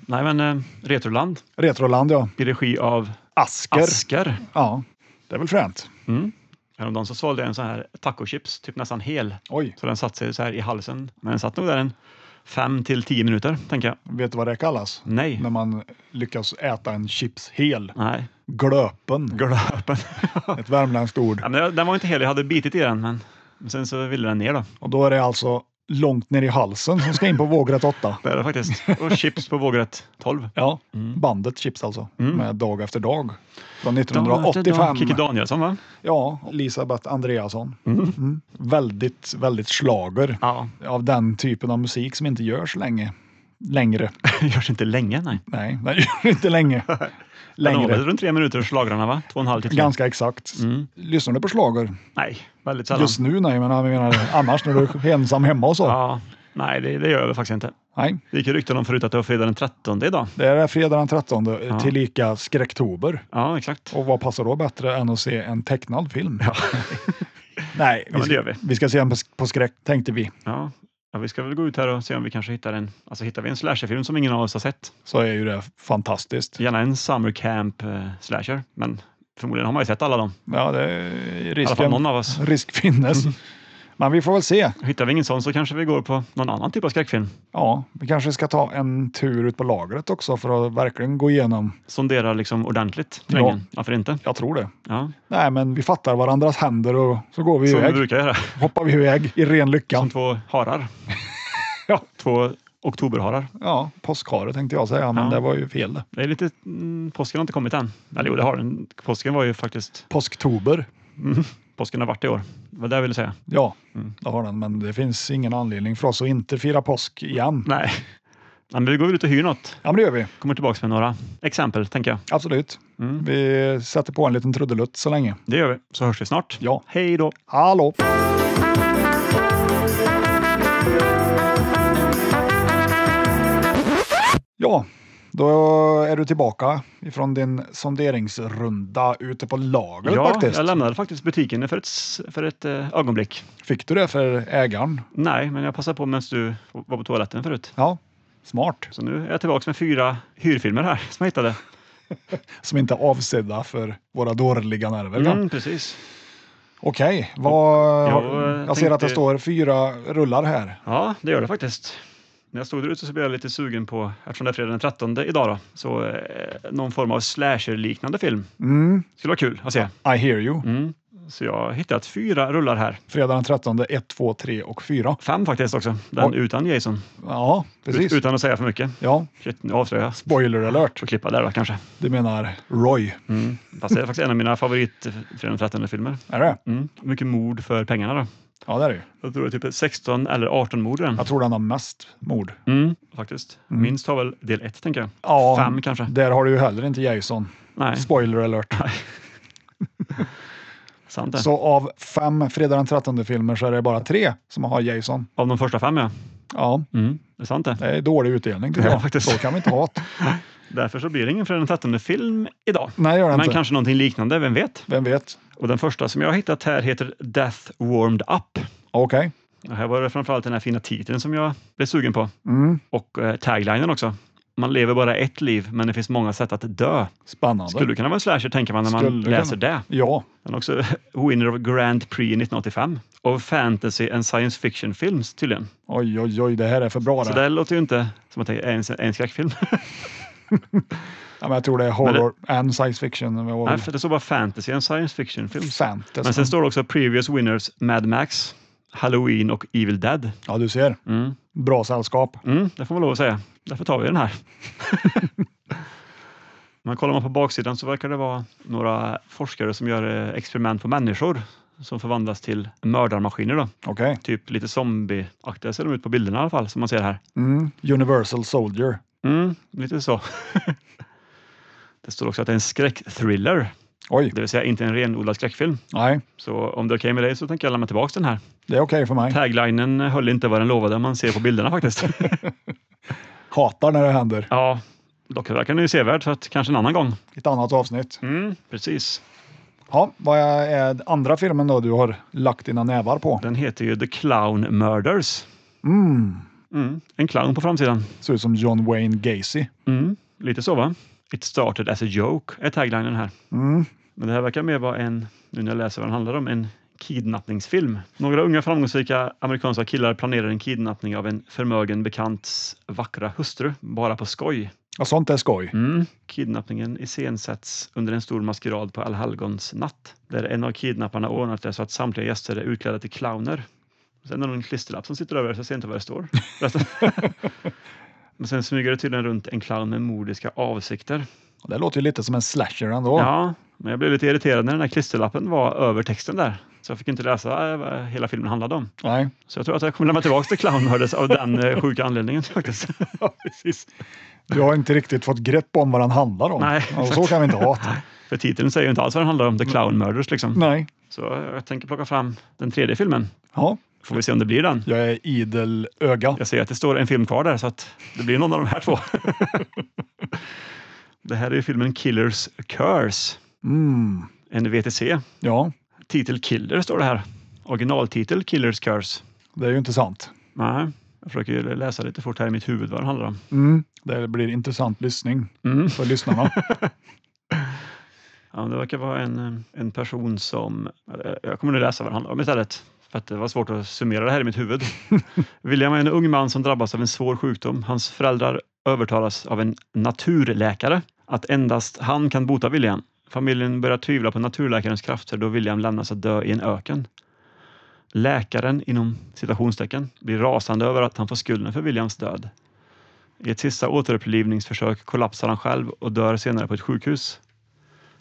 Nej, men eh, Retroland
Retroland ja.
i regi av
Asker.
Asker.
Ja, det är väl fränt.
Mm. Häromdagen så svalde jag en sån här tacochips, typ nästan hel.
Oj,
Så den satte sig så här i halsen. Men den satt nog där en fem till tio minuter, tänker jag.
vet du vad det kallas?
Nej.
När man lyckas äta en chips hel.
Nej.
Glöpen.
Glöpen.
Ett värmländskt ord.
ja, men jag- den var inte hel, jag hade bitit i den. Men men sen så ville den ner då.
Och då är det alltså långt ner i halsen som ska in på vågrätt 8.
Det är det faktiskt. Och chips på vågrätt 12.
Ja,
Mm.
bandet Chips alltså, med Dag efter dag. Från
Kikki
1985.
Danielsson va?
Ja, Elisabeth Andreasson. Mm. Väldigt, väldigt slager
Ja.
av den typen av musik som inte görs länge. Längre.
Görs inte länge, nej.
Nej, den gör inte länge.
Den har väl Mm.
Längre.
runt tre minuter slagrarna va? Två och en halv till tre.
Ganska exakt. Lyssnar du på slager?
Nej, väldigt sällan.
Just nu nej, men jag menar annars när du är ensam hemma och så.
Ja, nej, det, det gör jag väl faktiskt inte.
Nej,
Det gick ju rykten om förut att det var fredag den 13 idag.
det är fredag den 13 tillika skräcktober.
Ja, exakt.
Och vad passar då bättre än att se en tecknad film? Nej,
Ja,
vi
men det
ska,
gör vi.
vi ska se den på, på skräck tänkte vi.
Ja. Ja, vi ska väl gå ut här och se om vi kanske hittar en, alltså hittar vi en slasherfilm som ingen av oss har sett.
Så är ju det fantastiskt.
Gärna en summer camp eh, slasher, men förmodligen har man ju sett alla dem.
Ja, det är
I alla fall någon
risken.
av oss. Mm.
Risk finnes. Men vi får väl se.
Hittar vi ingen sån så kanske vi går på någon annan typ av skräckfilm.
Ja, vi kanske ska ta en tur ut på lagret också för att verkligen gå igenom.
Sonderar liksom ordentligt terrängen. Varför inte?
Jag tror det.
Ja,
Nej, men vi fattar varandras händer och så går vi
som vi
iväg.
brukar göra.
Hoppar vi iväg i ren lycka.
Som två harar.
Ja.
Två oktoberharar.
Ja, påskhare tänkte jag säga, men
Ja.
det var ju fel.
Det är lite, mm, påsken har inte kommit än. Eller jo, det har den. Påsken var ju faktiskt,
Påsktober.
påsken har varit i år. Det var det jag ville säga.
Ja,
Mm.
det har den, men det finns ingen anledning för oss att inte fira påsk igen.
Nej. Nej, men vi går väl ut och hyr något.
Ja, men det gör vi.
Kommer tillbaka med några exempel, tänker jag.
Absolut.
Mm.
Vi sätter på en liten trudelutt så länge.
Det gör vi, så hörs vi snart.
Ja.
Hej då!
Hallå! Ja, då är du tillbaka ifrån din sonderingsrunda ute på lagret
Ja,
faktiskt.
jag lämnade faktiskt butiken för ett, s- för ett eh, ögonblick.
Fick du det för ägaren?
Nej, men jag passade på medan du var på toaletten förut.
Ja, smart.
Så nu är jag tillbaka med fyra hyrfilmer här som jag hittade.
Som inte är avsedda för våra dåliga nerver. va?
Mm, precis.
Okej, vad...
Jag, eh,
Jag, ser att det
tänkte-
står fyra rullar här.
Ja, det gör det faktiskt. När jag stod där ute så blev jag lite sugen på, eftersom det är fredag den 13 idag, då, så eh, någon form av slasher-liknande film.
Mm,
Skulle vara kul att se.
I hear you.
Mm. Så jag har hittat fyra rullar här.
Fredag den 13, 1, 2, 3 och 4.
Fem faktiskt också. Den
Oj.
utan Jason.
Ja, precis.
Ut, utan att säga för mycket.
Ja,
Shit, nu avslöjar jag.
spoiler alert.
Får klippa där då kanske.
Du menar Roy,
Mm. Fast det är faktiskt en av mina favorit eh, fredag den 13 filmer.
är det?
Mm. Mycket mord för pengarna då.
Ja, det är det ju.
Jag tror det är typ 16 eller 18 mord i den.
Jag tror den har mest mord.
Mm, faktiskt. Minst har väl del ett, tänker jag.
Ja,
Fem kanske.
Där har du ju heller inte Jason.
Nej,
Spoiler alert.
sant det.
Så av fem Fredag den 13-filmer så är det bara tre som har Jason.
Av de första fem, ja.
Ja,
Mm, det är sant det.
det är dålig utdelning tycker
Ja,
jag.
faktiskt.
Så kan vi inte ha det.
Därför så blir det ingen Fredag den 13 film idag.
Nej, gör det
Men
inte.
kanske någonting liknande, vem vet?
Vem vet?
Och den första som jag har hittat här heter Death Warmed Up.
Okej.
Och här var det framförallt den här fina titeln som jag blev sugen på.
Mm.
Och eh, taglinen också. Man lever bara ett liv, men det finns många sätt att dö.
Spännande.
Skulle kunna vara en slasher, tänker man när man
Skulle
läser
kunna.
det.
Ja,
Den är också winner of Grand Prix 1985 av fantasy and science fiction films tydligen.
oj, oj, oj, det här är för bra det.
Så det låter ju inte som att det är en, en skräckfilm.
Ja, men jag tror det är horror and science fiction. Det var
Nej,
väl
för det står bara fantasy and science fiction films.
Fantasy.
Men sen står det också previous winners Mad Max, Halloween och Evil Dead.
Ja, du ser.
Mm.
Bra sällskap.
Mm, det får man lov att säga. Därför tar vi den här. Men kollar man på baksidan så verkar det vara några forskare som gör eh, experiment på människor som förvandlas till mördarmaskiner. Då.
Okej.
Typ lite zombieaktiga ser de ut på bilderna i alla fall, som man ser här.
Mm. Universal Soldier.
Mm, lite så. det står också att det är en skräckthriller,
Oj,
det vill säga inte en renodlad skräckfilm.
nej,
Så om det är okej med dig så tänker jag lämna tillbaka den här.
det är okej för mig.
Taglinen höll inte vad den lovade, man ser på bilderna faktiskt.
Hatar när det händer.
ja, dock verkar den ju sevärd, så att kanske en annan gång.
Ett annat avsnitt.
Mm, precis.
Ja, vad är den andra filmen då du har lagt dina nävar på?
Den heter ju The Clown Murders.
Mm.
Mm, en clown på framsidan.
Ser ut som John Wayne Gacy.
Mm, lite så va? It started as a joke är taglinen här.
Mm.
Men det här verkar mer vara en nu när jag läser vad den handlar om, en kidnappningsfilm. Några unga framgångsrika amerikanska killar planerar en kidnappning av en förmögen bekants vackra hustru, bara på skoj.
Ja, sånt är skoj.
Mm. Kidnappningen iscensätts under en stor maskerad på Allhelgons natt där en av kidnapparna ordnat det så att samtliga gäster är utklädda till clowner. Sen är det en klisterlapp som sitter över så jag ser inte vad det står. Resten- Men sen smyger det tydligen runt en clown med mordiska avsikter.
Det låter ju lite som en slasher ändå.
Ja, men jag blev lite irriterad när den här klisterlappen var över texten där. Så jag fick inte läsa eh, vad hela filmen handlade om.
Nej.
Så jag tror att jag kommer lämna tillbaka till clownhördes av den eh, sjuka anledningen faktiskt.
Ja, precis. Du har inte riktigt fått grepp om vad den handlar om.
Nej,
Ja, och så
exakt.
kan vi inte ha det.
För titeln säger ju inte alls vad den handlar om, The Clown Murders liksom.
Nej.
Så jag tänker plocka fram den tredje filmen.
Ja,
Får vi se om det blir den.
jag är idel öga.
Jag ser att det står en film kvar där så att det blir någon av de här två. det här är ju filmen Killers Curse,
Mm.
en VTC.
Ja,
Titel Killer står det här. Originaltitel Killers Curse.
det är ju intressant.
Nej, jag försöker ju läsa lite fort här i mitt huvud vad den handlar om.
Mm. Det blir intressant lyssning
Mm.
för lyssnarna.
Ja, det verkar vara en, eh, en person som... eh, Jag kommer nu läsa vad det handlar om istället. För att det var svårt att summera det här i mitt huvud. William är en ung man som drabbas av en svår sjukdom. Hans föräldrar övertalas av en naturläkare att endast han kan bota William. Familjen börjar tvivla på naturläkarens krafter då William lämnas att dö i en öken. Läkaren, inom citationstecken, blir rasande över att han får skulden för Williams död. I ett sista återupplivningsförsök kollapsar han själv och dör senare på ett sjukhus.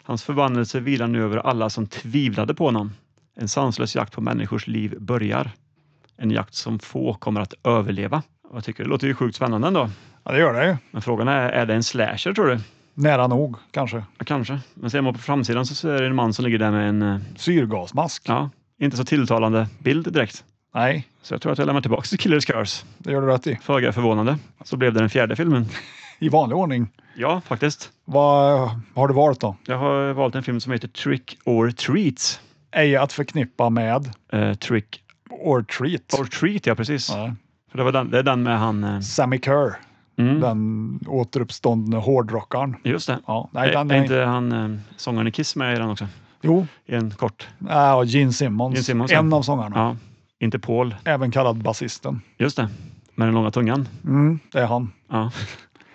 Hans förbannelse vilar nu över alla som tvivlade på honom. En sanslös jakt på människors liv börjar. En jakt som få kommer att överleva. Jag tycker det låter ju sjukt spännande ändå.
Ja, det gör det ju.
Men frågan är, är det en slasher tror du?
Nära nog kanske.
Ja, kanske. Men ser man på framsidan så är det en man som ligger där med en, eh,
Syrgasmask?
ja, inte så tilltalande bild direkt.
Nej,
Så jag tror att jag lämnar tillbaka till Killer's Curse.
det gör du rätt i.
Föga förvånande. Så blev det den fjärde filmen.
I vanlig ordning.
Ja, faktiskt.
Vad har du valt då?
Jag har valt en film som heter Trick or Treat.
Ej att förknippa med
Eh, Trick
or treat.
or Treat, ja precis.
Ja.
För det, var den, det är den med han... eh,
Sammy Kerr,
Mm.
den återuppståndne hårdrockaren.
Just det.
Ja, nej, den,
är
är-
inte han eh, sångaren i Kiss med i den också?
Jo,
I en kort?
ja, och Gene Simmons,
Gene Simmons,
en
ja.
av sångarna.
Ja. Inte Paul.
Även kallad basisten.
Just det. Med den långa tungan.
Mm, det är han.
Ja,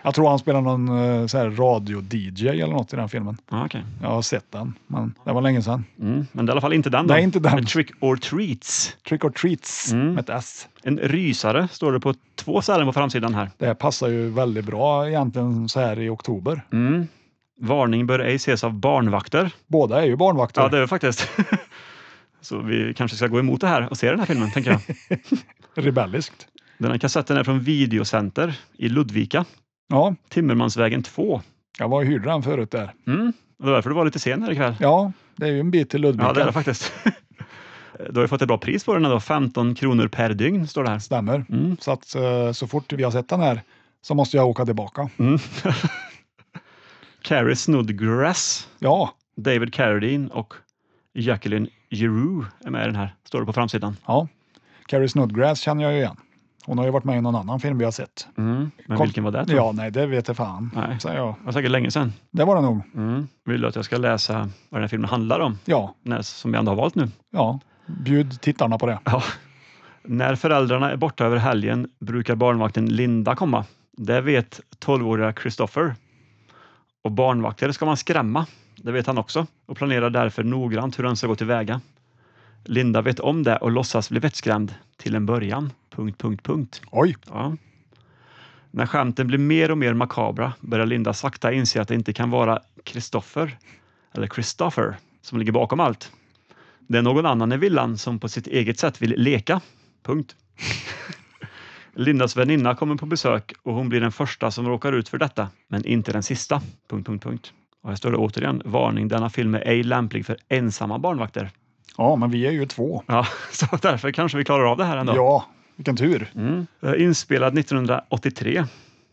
Jag tror han spelar någon eh, så här radio-DJ eller något i den filmen.
ja okej.
Jag har sett den, men det var länge sedan.
Mm. Men det är i alla fall inte den då.
Nej, inte den.
Men Trick or Treats.
Trick or treats
Mm.
med ett S.
En rysare står det på två ställen på framsidan här.
Det här passar ju väldigt bra egentligen så här i oktober.
Mm. Varning bör ej ses av barnvakter.
Båda är ju barnvakter.
Ja, det är det faktiskt. Så vi kanske ska gå emot det här och se den här filmen, tänker jag.
Rebelliskt.
Den här kassetten är från Videocenter i Ludvika,
Ja,
Timmermansvägen 2.
jag var och hyrde den förut där.
Mm. Och det var därför du var lite sen här ikväll.
Ja, det är ju en bit till Ludvika.
Ja, det är det faktiskt. Du har ju fått ett bra pris på den ändå. 15 kronor per dygn står det här.
Stämmer.
Mm.
Så att eh, så fort vi har sett den här så måste jag åka tillbaka.
Mm. Carrie Snodgrass,
Ja,
David Carradine och Jacqueline Giroux är med i den här, står det på framsidan.
ja. Carrie Snodgrass känner jag ju igen. Hon har ju varit med i någon annan film vi har sett.
Mm. Men
Kom-
vilken var det? tror du?
Ja, nej, det vet jag fan.
Nej.
Säger jag.
Det var säkert länge sedan.
Det var det nog.
Mm. Vill du att jag ska läsa vad den här filmen handlar om?
Ja,
Den här som vi ändå har valt nu.
ja. Bjud tittarna på det.
Ja. När föräldrarna är borta över helgen brukar barnvakten Linda komma. Det vet 12-åriga Christopher. Och barnvakter ska man skrämma. Det vet han också och planerar därför noggrant hur han ska gå tillväga. Linda vet om det och låtsas bli vettskrämd till en början. Punkt, punkt, punkt.
Oj,
Ja. När skämten blir mer och mer makabra börjar Linda sakta inse att det inte kan vara Christopher, eller Christopher, som ligger bakom allt. Det är någon annan i villan som på sitt eget sätt vill leka. Punkt. Lindas väninna kommer på besök och hon blir den första som råkar ut för detta, men inte den sista. Punkt, punkt, punkt. Och här står det återigen, varning, denna film är ej lämplig för ensamma barnvakter.
ja, men vi är ju två.
Ja, så därför kanske vi klarar av det här ändå.
Ja, vilken tur.
Mm. Eh, Inspelad 1983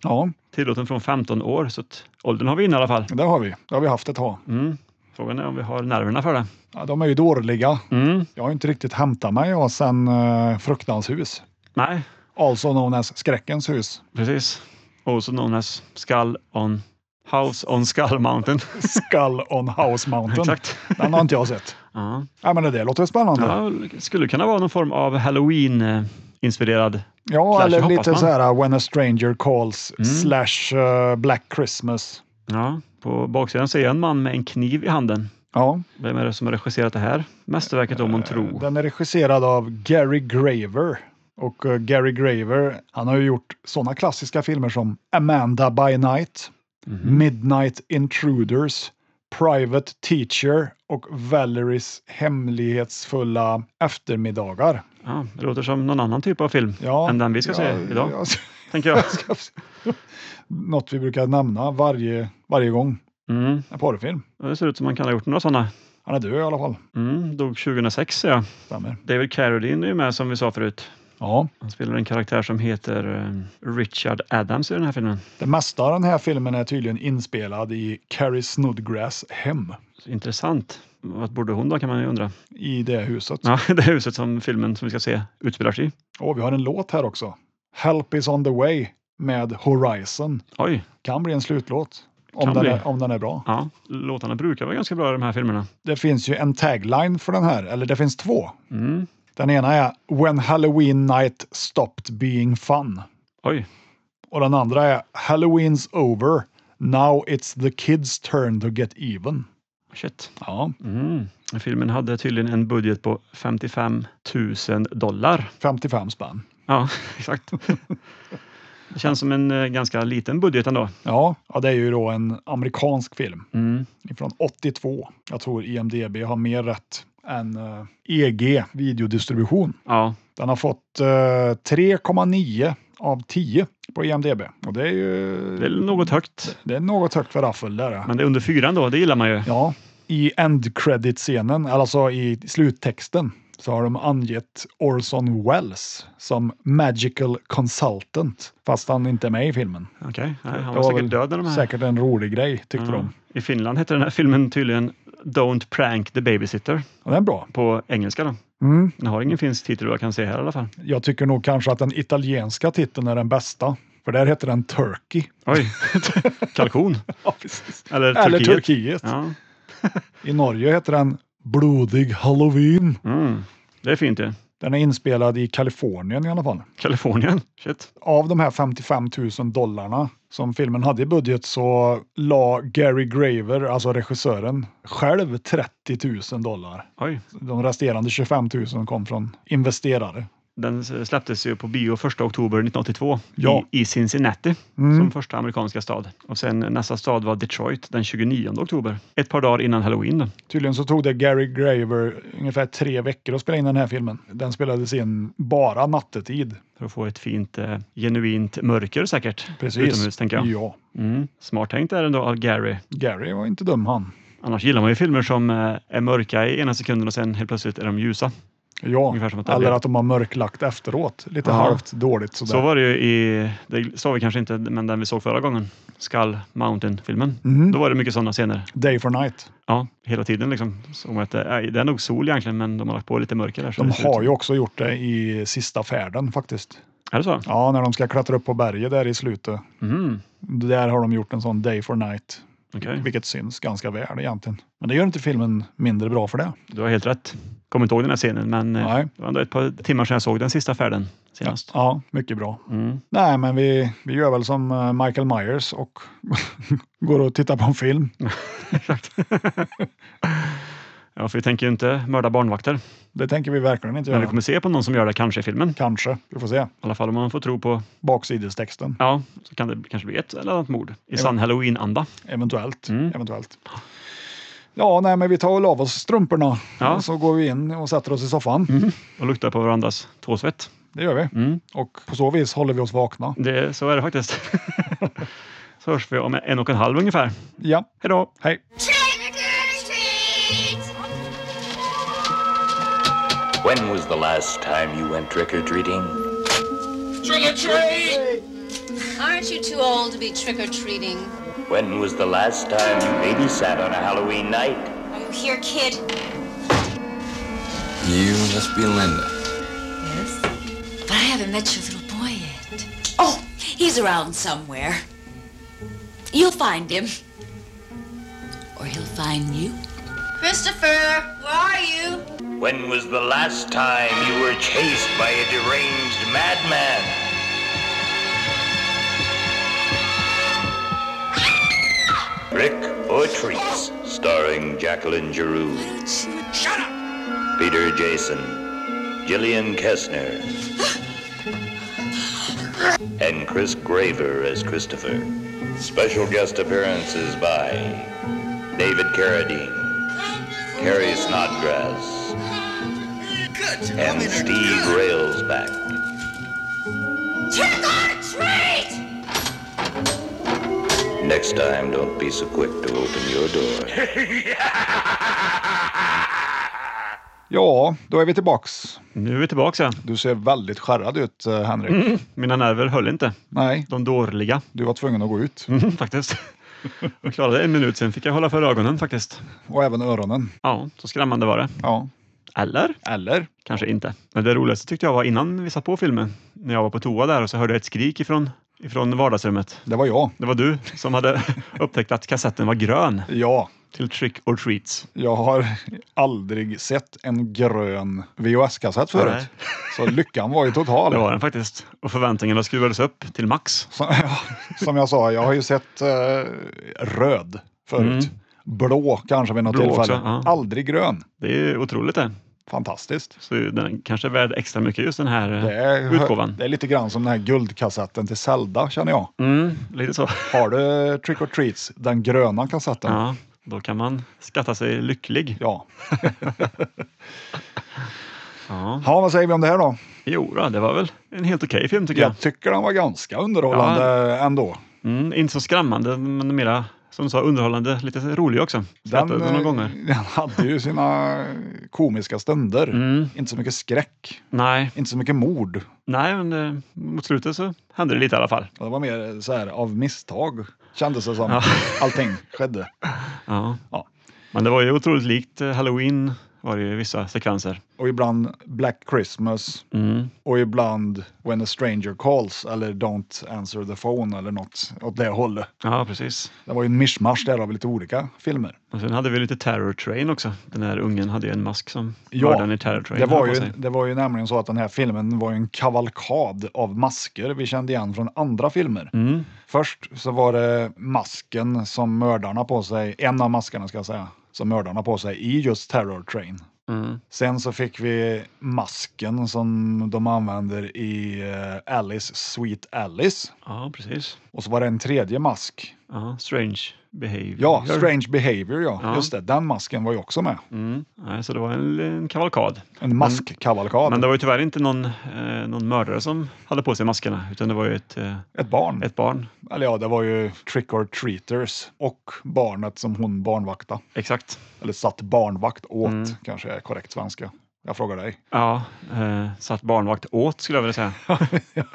Ja,
tillåten från 15 år, så att åldern har vi in i alla fall.
det har vi. Det har vi haft ett tag.
Mm. Frågan är om vi har nerverna för det.
Ja, de är ju dåliga.
Mm.
Jag har inte riktigt hämtat mig jag sen uh, Fruktans hus.
Nej,
Also known as Skräckens hus.
precis. Also known as Skull on House on Skull Mountain.
Skull on House Mountain.
Exakt.
Den har inte jag sett.
Ja.
Ja, men det där låter spännande. Ja,
Ja, skulle kunna vara någon form av halloween-inspirerad. Slash,
eller
hoppas
lite
man. Mm.
så här uh, When a stranger calls slash eh, Black Christmas.
Ja, på baksidan ser jag en man med en kniv i handen.
Ja,
Vem är det som har regisserat det här mästerverket om man
Eh,
tror?
den är regisserad av Gary Graver. Och eh, Gary Graver, han har ju gjort sådana klassiska filmer som Amanda by Night,
Mhm.
Midnight Intruders, Private Teacher och Valeries hemlighetsfulla eftermiddagar.
Ja, det låter som någon annan typ av film
Ja,
än den vi ska
ja,
se idag,
ja,
tänker jag.
något vi brukar nämna varje, varje gång.
Mm.
En porrfilm.
Ja, Det ser ut som man kan ha gjort några sådana.
Han är död i alla fall.
Mm, dog 2006 ser jag.
Stämmer.
David Carradine är ju med som vi sa förut.
Ja.
Han spelar en karaktär som heter eh, Richard Adams i den här filmen.
Det mesta av den här filmen är tydligen inspelad i Carrie Snodgrass hem.
Så Intressant. Vad bodde hon då kan man ju undra.
I det huset.
Ja, det huset som filmen som vi ska se utspelar sig i.
Och vi har en låt här också. Help is on the way med Horizon.
Oj,
Kan bli en slutlåt. Om
Kan
den,
bli.
är, om den är bra.
ja, låtarna brukar vara ganska bra i de här filmerna.
Det finns ju en tagline för den här, eller det finns två.
Mm.
Den ena är When Halloween night stopped being fun.
Oj,
Och den andra är Halloween's over. Now it's the kids turn to get even.
shit.
Ja,
Mm. Filmen hade tydligen en budget på 55 000 dollar.
55 spänn.
Ja, exakt. Det känns som en eh, ganska liten budget ändå.
Ja, ja, det är ju då en amerikansk film
Mm.
från 82. Jag tror IMDB har mer rätt än eh, EG videodistribution.
Ja,
Den har fått eh, 3,9 av 10 på IMDB och det är ju
det är något högt.
det är något högt för raffel där.
Men det är under fyran då, det gillar man ju.
Ja, i end credit scenen, alltså i sluttexten, så har de angett Orson Welles som magical consultant, fast han inte är med i filmen.
Okej, nej, han
Det
var
var
säkert
väl
död när de här... Mm.
Säkert en rolig grej tyckte de.
I Finland heter den här filmen tydligen Don't prank the babysitter
Och den är bra.
på engelska. Då.
Mm.
Den har ingen finsk titel vad jag kan se här i alla fall.
Jag tycker nog kanske att den italienska titeln är den bästa. För där heter den Turkey.
Oj, kalkon
Ja, precis.
eller Turkiet.
Eller Turkiet.
Ja.
I Norge heter den Blodig Halloween.
Mm. Det är fint det.
Den är inspelad i Kalifornien i alla fall.
Kalifornien, shit.
Av de här 55 000 dollarna som filmen hade i budget så la Gary Graver, alltså regissören, själv 30 000 dollar.
Oj.
De resterande 25 000 kom från investerare.
Den släpptes ju på bio 1 oktober 1982
Ja.
i, i Cincinnati
Mm.
som första amerikanska stad. Och sen nästa stad var Detroit den 29 oktober. Ett par dagar innan halloween. Då.
Tydligen så tog det Gary Graver ungefär tre veckor att spela in den här filmen. Den spelades in bara nattetid.
För att få ett fint, eh, genuint mörker säkert. Utomhus tänker jag.
Ja,
Mm. Smart tänkt är det ändå av Gary.
Gary var inte dum han.
Annars gillar man ju filmer som eh, är mörka i ena sekunden och sen helt plötsligt är de ljusa.
Ja,
Ungefär som att det
eller
blev-
att de har mörklagt efteråt. Lite
Jaha.
halvt dåligt sådär.
Så var det ju i, det sa vi kanske inte, men den vi såg förra gången, Skull Mountain-filmen.
Mhm.
Då var det mycket sådana scener.
Day for night.
Ja, hela tiden liksom. Såg man att det, nej, det är nog sol egentligen, men de har lagt på lite mörker där. Så
De
det ser ut
har
som-
ju också gjort det i sista färden faktiskt.
Är det så?
Ja, när de ska klättra upp på berget där i slutet.
Mm,
Där har de gjort en sån day for night,
okej.
vilket syns ganska väl egentligen. Men det gör inte filmen mindre bra för det.
Du har helt rätt. Kommer inte ihåg den här scenen, men eh,
Nej.
det var ändå ett par timmar sedan jag såg den sista färden senast.
Ja, mycket bra.
Mm.
Nej, men vi, vi gör väl som eh, Michael Myers och går och tittar på en film.
Exakt. ja, för vi tänker ju inte mörda barnvakter.
Det tänker vi verkligen inte
Men vi
göra.
kommer se på någon som gör det kanske i filmen.
Kanske, vi får se.
I alla fall om man får tro på
Baksidestexten,
Ja, så kan det kanske bli ett eller annat mord i sann halloween-anda.
eventuellt.
Mm.
eventuellt. Ja, nej, men vi tar väl av oss strumporna
Ja.
och så går vi in och sätter oss i soffan.
Och luktar på varandras tåsvett.
Det gör vi.
Mm.
Och på så vis håller vi oss vakna.
Det, så är det faktiskt. så hörs vi om en och en halv ungefär.
Ja,
Hej då!
hej!
Trick or treat!
When was the last time you went trick or treating?
Trick or treat!
Aren't you too old to be trick or treating?
When was the last time you babysat on a Halloween night?
Are you here, kid?
You must be Linda.
Yes. But I haven't met your little boy yet. Oh, he's around somewhere. You'll find him. Or he'll find you.
Christopher, where are you?
When was the last time you were chased by a deranged madman? Rick or Treats, starring Jacqueline Giroux,
Shut up!
Peter Jason, Gillian Kessner, and Chris Graver as Christopher. Special guest appearances by David Carradine, Carrie Snodgrass,
Good.
and Steve Railsback.
Trick or treat!
Next time, don't be so quick to open your door.
Ja, då är vi tillbaks.
Nu är vi tillbaka igen.
Du ser väldigt skärrad ut, eh, Henrik.
Mina nerver höll inte.
Nej,
De dåliga,
du var tvungen att gå ut.
mm, faktiskt. Jag klarade en minut, sen fick jag hålla för ögonen faktiskt.
Och även öronen.
Ja, så skrämmande var det.
Ja.
Eller?
Eller?
Kanske inte. Men det roligaste tyckte jag var innan vi satte på filmen. När jag var på toa där och så hörde jag ett skrik ifrån, ifrån vardagsrummet.
Det var jag.
Det var du som hade upptäckt att kassetten var grön
Ja,
till Trick or Treats.
jag har aldrig sett en grön VHS-kassett förut.
Nej.
Så lyckan var ju total.
Det var den faktiskt. Och förväntningarna skruvades upp till max.
Som, ja, som jag sa, jag har ju sett eh, röd förut. Blå kanske vid något
Mm. Blå
tillfälle.
också, ja.
Aldrig grön.
Det är ju otroligt det.
Fantastiskt.
Så den kanske är värd extra mycket just den här eh,
Det är,
utgåvan.
det är lite grann som den här guldkassetten till Zelda känner jag.
Mm, lite så.
Har du Trick or Treats, den gröna kassetten?
Ja, då kan man skatta sig lycklig.
Ja.
Ja.
ja, vad säger vi om det här då?
Jo, då, det var väl en helt okej film tycker jag.
Jag tycker den var ganska underhållande ändå.
Mm, inte så skrämmande, men mera som du sa underhållande, lite rolig också.
Den,
Skrattade några
eh,
gånger.
den hade ju sina komiska stunder.
Mm.
Inte så mycket skräck,
Nej,
inte så mycket mord.
nej, men eh, mot slutet så hände det lite i alla fall.
Det var mer så här av misstag kändes det som.
Ja.
Allting skedde.
Ja.
Ja.
Men det var ju otroligt likt eh, Halloween var det ju i vissa sekvenser.
Och ibland Black Christmas
Mm.
och ibland When a stranger calls eller Don't answer the phone eller något åt det hållet.
Ja, precis.
Det var ju en mischmasch där av lite olika filmer.
Och sen hade vi lite Terror Train också. Den här ungen hade ju en mask som
Ja,
mördaren i Terror Train
Det var,
hade på
ju,
sig.
det var ju nämligen så att den här filmen var ju en kavalkad av masker vi kände igen från andra filmer.
Mm.
Först så var det masken som mördarna på sig, en av maskerna ska jag säga, som mördarna på sig i just Terror Train.
Mm.
Sen så fick vi masken som de använder i eh, Alice Sweet Alice.
Ja, precis.
Och så var det en tredje mask.
Ja, strange behavior.
Ja, Strange Behavior ja.
Ja.
Just det, den masken var ju också med.
Mm. Nej, så det var en, en kavalkad.
En maskkavalkad.
Men det var ju tyvärr inte någon, eh, någon mördare som hade på sig maskerna, utan det var ju ett, eh,
Ett barn.
ett barn.
Eller ja, det var ju Trick or Treaters och barnet som hon barnvakta.
Exakt.
Eller satt barnvakt åt,
Mm.
kanske är korrekt svenska. Jag frågar dig.
Ja, eh, satt barnvakt åt skulle jag vilja säga.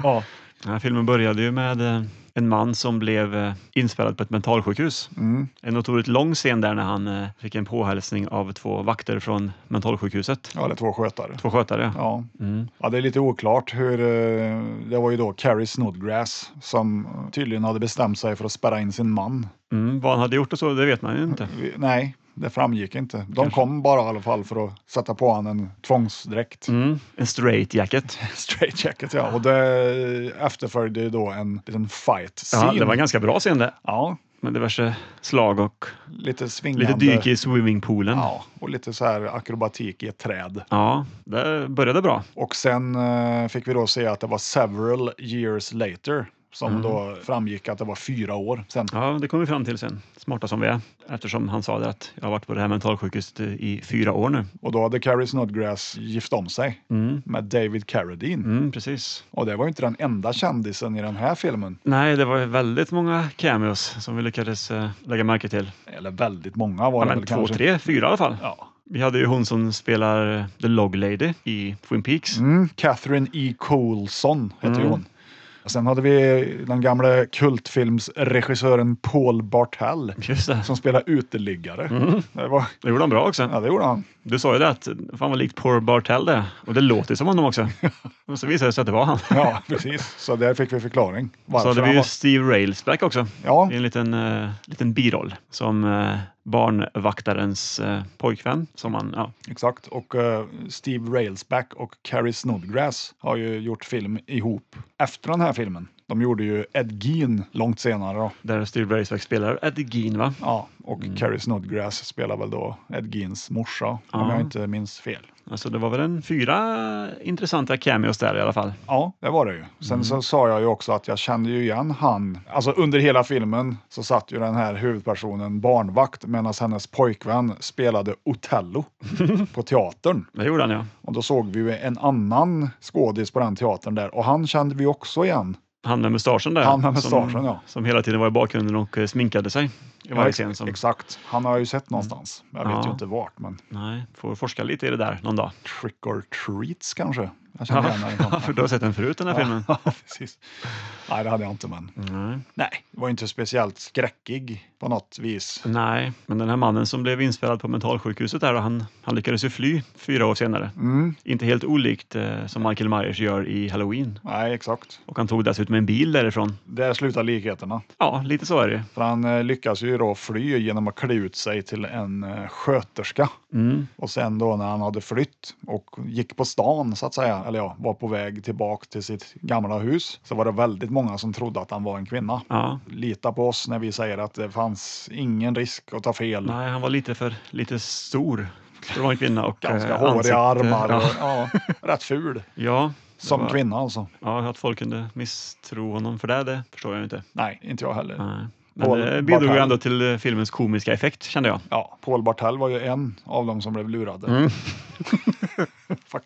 ja.
Den här filmen började ju med eh, en man som blev eh, inspärrad på ett mentalsjukhus.
Mm.
En otroligt lång scen där när han eh, fick en påhälsning av två vakter från mentalsjukhuset.
ja, eller två skötare.
Två skötare. Ja.
Ja.
Mm.
ja, det är lite oklart hur... eh, Det var ju då Carrie Snodgrass som eh, tydligen hade bestämt sig för att spärra in sin man.
Mm, vad han hade gjort och så, det vet man ju inte.
Vi- Nej, det framgick inte. De kom bara i alla fall för att sätta på honom en tvångsdräkt.
Mm, en straight jacket.
Straight jacket, ja. Och det eh, efterföljde ju då en liten fight scene.
Ja, det var en ganska bra scen det.
ja,
Med diverse slag och
lite
lite
svingande.
dyk i swimmingpoolen.
Ja, och lite så här akrobatik i ett träd.
Ja, det började bra.
Och sen eh, fick vi då se att det var several years later som
Mm.
då framgick att det var fyra år sen.
Ja, det kommer vi fram till sen, smarta som vi är. Eftersom han sa det att jag har varit på det här mentalsjukhuset i fyra år nu.
Och då hade Carrie Snodgrass gift om sig
Mm.
med David Carradine.
Mm, precis.
Och det var ju inte den enda kändisen i den här filmen.
Nej, det var ju väldigt många cameos som vi lyckades eh, lägga märke till.
Eller väldigt många var
Ja,
det
men
väl
två,
kanske.
tre, fyra i alla fall.
Ja.
Vi hade ju hon som spelar eh, The Log Lady i Twin Peaks.
Mm, Catherine E. Coulson heter ju hon. Sen hade vi den gamla kultfilmsregissören Paul Bartel
Just det.
som spelar uteliggare.
Mm.
Det, var,
Det gjorde han bra också.
ja, det gjorde han.
Du sa ju det att fan vad likt Poor Bartell det är. Och det låter som honom också. Men så visade det sig att det var han.
Ja, precis. Så där fick vi förklaring.
Så
Varför
hade vi
han
ju
var...
Steve Railsback också.
Ja,
I en liten, eh, liten biroll som eh, barnvaktarens eh, pojkvän. Som han, ja.
exakt. Och eh, Steve Railsback och Carrie Snodgrass har ju gjort film ihop efter den här filmen. De gjorde ju Ed Gein långt senare då.
Där Steve Railsback spelar Ed Gein va?
Ja, och
Mm.
Carrie Snodgrass spelar väl då Ed Geins morsa, om
Ja.
jag inte minns fel.
Alltså det var väl en fyra intressanta cameos där i alla fall.
Ja, det var det ju. Sen
Mm.
så sa jag ju också att jag kände ju igen han. Alltså under hela filmen så satt ju den här huvudpersonen barnvakt medan hennes pojkvän spelade Otello på teatern.
Det gjorde han ja.
Och då såg vi ju en annan skådis på den teatern där och han kände vi också igen.
Han med mustaschen där.
Han med mustaschen,
som,
ja.
Som hela tiden var i bakgrunden och eh, sminkade sig. I varje
Ja,
scen. Som, Mm.
Exakt. Han har jag ju sett någonstans. Jag vet
Ja.
ju inte vart, men
nej, får forska lite i det där någon dag.
Trick or Treats kanske? Jag kände igen den
Ja, för du har sett den förut den här filmen.
Ja, precis. Nej, det hade jag inte, men
Nej.
nej, det var inte speciellt skräckig på något vis.
Nej, men den här mannen som blev inspärrad på mentalsjukhuset där, han, han lyckades ju fly fyra år senare.
Mm,
Inte helt olikt eh, som Michael Myers gör i Halloween.
nej, exakt.
Och han tog dessutom en bil därifrån.
Där slutar likheterna.
Ja, lite så är det.
För han eh, lyckas ju då fly genom att klä ut sig till en eh, sköterska.
Mm.
Och sen då när han hade flytt och gick på stan så att säga, eller ja, var på väg tillbaka till sitt gamla hus, så var det väldigt många som trodde att han var en kvinna.
Ja.
Lita på oss när vi säger att det fanns ingen risk att ta fel.
Nej, han var lite för lite stor. Det var en kvinna och eh,
Ganska håriga
ansikte-
armar och
Ja,
ja, rätt ful.
ja, det
Som
var-
kvinna alltså.
Ja, att folk kunde misstro honom för det, det förstår jag inte.
Nej, inte jag heller.
Nej. Men
Paul
det bidrog ju
Bartel.
ändå till eh, filmens komiska effekt kände jag.
Ja, Paul Bartel var ju en av dem som blev lurade.
Mm.
Fuck.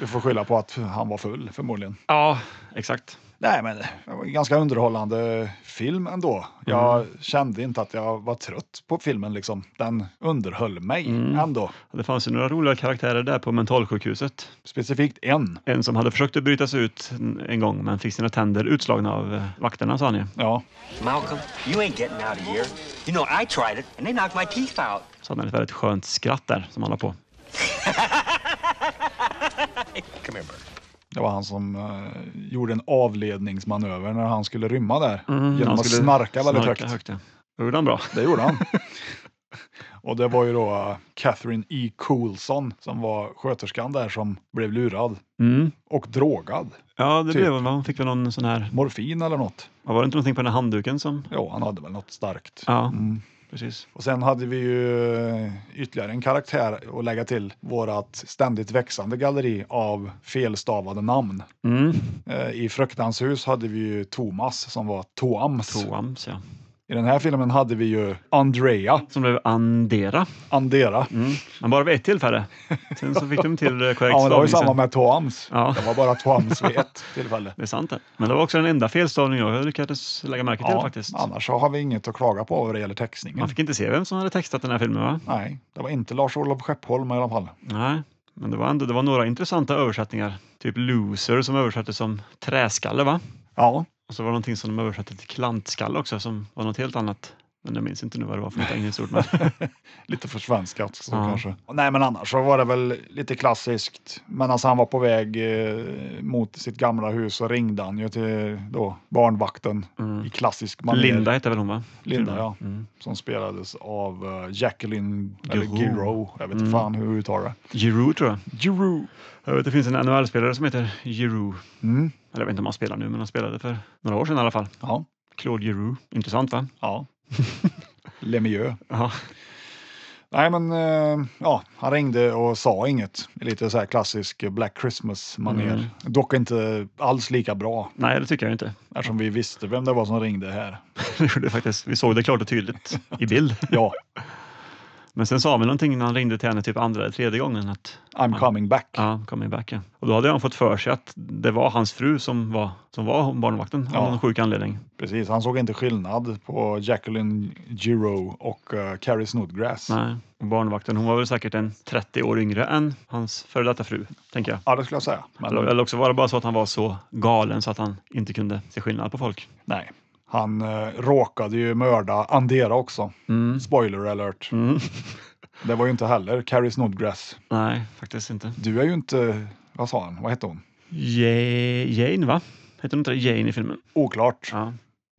Du får skylla på att han var full förmodligen.
Ja, exakt.
Nej, men det var en ganska underhållande film ändå. Jag
Mm.
kände inte att jag var trött på filmen liksom. Den underhöll mig
Mm.
ändå.
Det fanns ju några roliga karaktärer där på mentalsjukhuset.
Specifikt en.
En som hade försökt att bryta sig ut en- en gång men fick sina tänder utslagna av eh, vakterna sa han ju.
Ja,
Malcolm, you ain't getting out of here. You know, I tried it, and they knocked my teeth out.
Så hade han ett väldigt skönt skratt där som han la på.
Come here, Bert.
det var han som eh, gjorde en avledningsmanöver när han skulle rymma där Mm. genom
Mm. Han
att
skulle
snarka väldigt
snarka
högt.
ja. Det gjorde han bra.
Det gjorde han. Och det var ju då eh, Catherine E. Coulson som var sköterskan där som blev lurad
Mm.
och drogad.
Ja, det
Typ.
blev väl. Han fick väl någon sån här...
Morfin eller något.
Var det inte någonting på den här handduken som...
Jo, han hade väl något starkt.
Ja, precis.
Och sen hade vi ju uh, ytterligare en karaktär att lägga till vårat ständigt växande galleri av felstavade namn.
Mm.
Eh, I Fruktanshus hade vi ju Thomas som var Toams.
Toams, ja.
I den här filmen hade vi ju Andrea,
Som blev Andera.
Andera.
Mm. Men bara vid ett tillfälle. Sen så fick de till eh, korrekt
Ja, men det var
stavning
ju
sen.
samma med Toams.
Ja.
Det var bara Toams vid ett tillfälle.
Det är sant det. Men det var också den enda felstavningen jag lyckades lägga märke till
Ja,
faktiskt.
annars så har vi inget att klaga på vad det gäller textningen.
Man fick inte se vem som hade textat den här filmen va?
Nej, det var inte Lars-Olof Skeppholm i alla fall.
Nej, men det var ändå det var några intressanta översättningar. Typ loser som översattes som träskalle va?
Ja,
Och så var det någonting som de översatte till klantskalle också som var något helt annat. Men jag minns inte nu vad det var för något engelskt ord. Men...
lite försvenskat så
Ja.
kanske. Nej, men annars så var det väl lite klassiskt. Men alltså han var på väg eh, mot sitt gamla hus så ringde han ju till då, barnvakten i klassisk manér.
Mm. Linda hette väl hon va?
Linda,
Filmen.
ja.
Mm.
Som spelades av eh, Jacqueline eller
Giro.
Giro. Jag vet inte
Mm.
fan hur du uttalar det.
Giroud tror jag.
Giro.
Jag vet att det finns en NHL-spelare som heter Giroud.
Mm.
Eller jag vet inte om han spelar nu men han spelade för några år sedan i alla fall.
Ja.
Claude Giroud. Intressant va?
ja. Lemieux.
Ja.
Nej, men eh, ja, han ringde och sa inget. Lite så här klassisk Black Christmas-manér.
Mm.
Dock inte alls lika bra
Nej, det tycker jag inte.
eftersom vi visste vem det var som ringde här.
Det gjorde det faktiskt. Vi såg det klart och tydligt i bild.
Ja,
Men sen sa han väl någonting när han ringde till henne typ andra eller tredje gången att
I'm coming back.
ja, coming back. Ja. Och då hade han fått för sig att det var hans fru som var, som var barnvakten av
Ja.
någon sjuk anledning.
Precis, han såg inte skillnad på Jacqueline Giro och eh, Carrie Snodgrass.
Nej. Och barnvakten, hon var väl säkert en 30 år yngre än hans före detta fru, tänker jag.
Ja, det skulle jag säga. Men
Eller, eller också var det bara så att han var så galen så att han inte kunde se skillnad på folk.
nej, han eh, råkade ju mörda Andera också. Spoiler alert.
Mm.
Det var ju inte heller Carrie Snodgrass.
Nej, faktiskt inte.
Du är ju inte, vad sa han, vad hette hon?
Ja- Jane, va? Heter hon inte det? Jane i filmen?
Oklart,
Ja.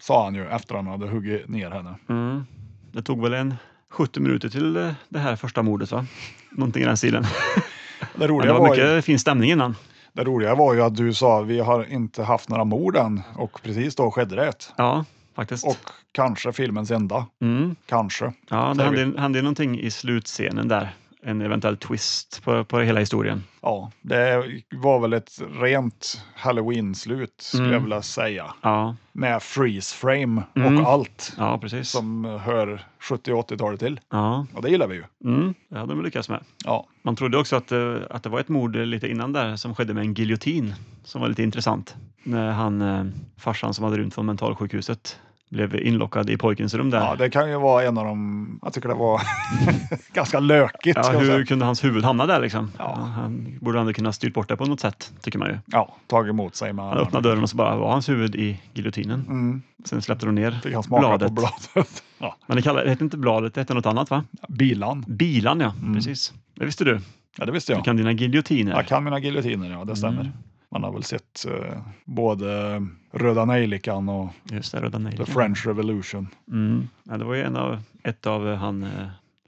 sa han ju efter han hade huggit ner henne.
Mm. Det tog väl en 70 minuter till eh, det här första mordet, va? Någonting i den stilen.
Det
Men
roliga,
det
var
var
ju,
mycket fin stämning innan.
det roliga var ju att du sa vi har inte haft några mord än och precis då skedde det ett.
Ja, faktiskt.
Och kanske filmens enda.
Mm.
Kanske.
Ja, det
Sorry.
hände, hände ju någonting i slutscenen där. En eventuell twist på, på hela historien.
Ja, det var väl ett rent halloween-slut skulle
Mm.
jag vilja säga.
Ja,
Med freeze frame
Mm.
och allt
ja precis.
som hör 70 och 80-talet till.
Ja,
Och det gillar vi ju.
mm. det hade de lyckats med.
Ja,
Man trodde också att, eh, att det var ett mord lite innan där som skedde med en giljotin som var lite intressant. När han, eh, farsan som hade rymt från mentalsjukhuset blev inlockad i pojkens rum där.
ja, det kan ju vara en av de... Jag tycker det var ganska lökigt.
Ja,
ska jag
hur
säga.
kunde hans huvud hamna där liksom?
Ja.
Han borde ändå kunna styrt bort det på något sätt, tycker man ju.
ja tagit emot sig med
Han öppnade dörren och så bara var hans huvud i giljotinen.
Mm,
Sen släppte de ner
fick han smaka
bladet.
på bladet. Ja.
Men det, kallade, det hette inte bladet, det hette något annat va?
Bilan,
Bilan ja, precis. Det visste Mm. du.
Mm. ja det visste
Du
jag.
kan dina giljotiner.
Jag kan mina giljotiner, ja det stämmer. Man har väl sett eh, både Röda Nejlikan och
Just det, röda
The
nejlikan.
French Revolution.
Mm. Ja, det var ju en av, ett av eh, han, uh,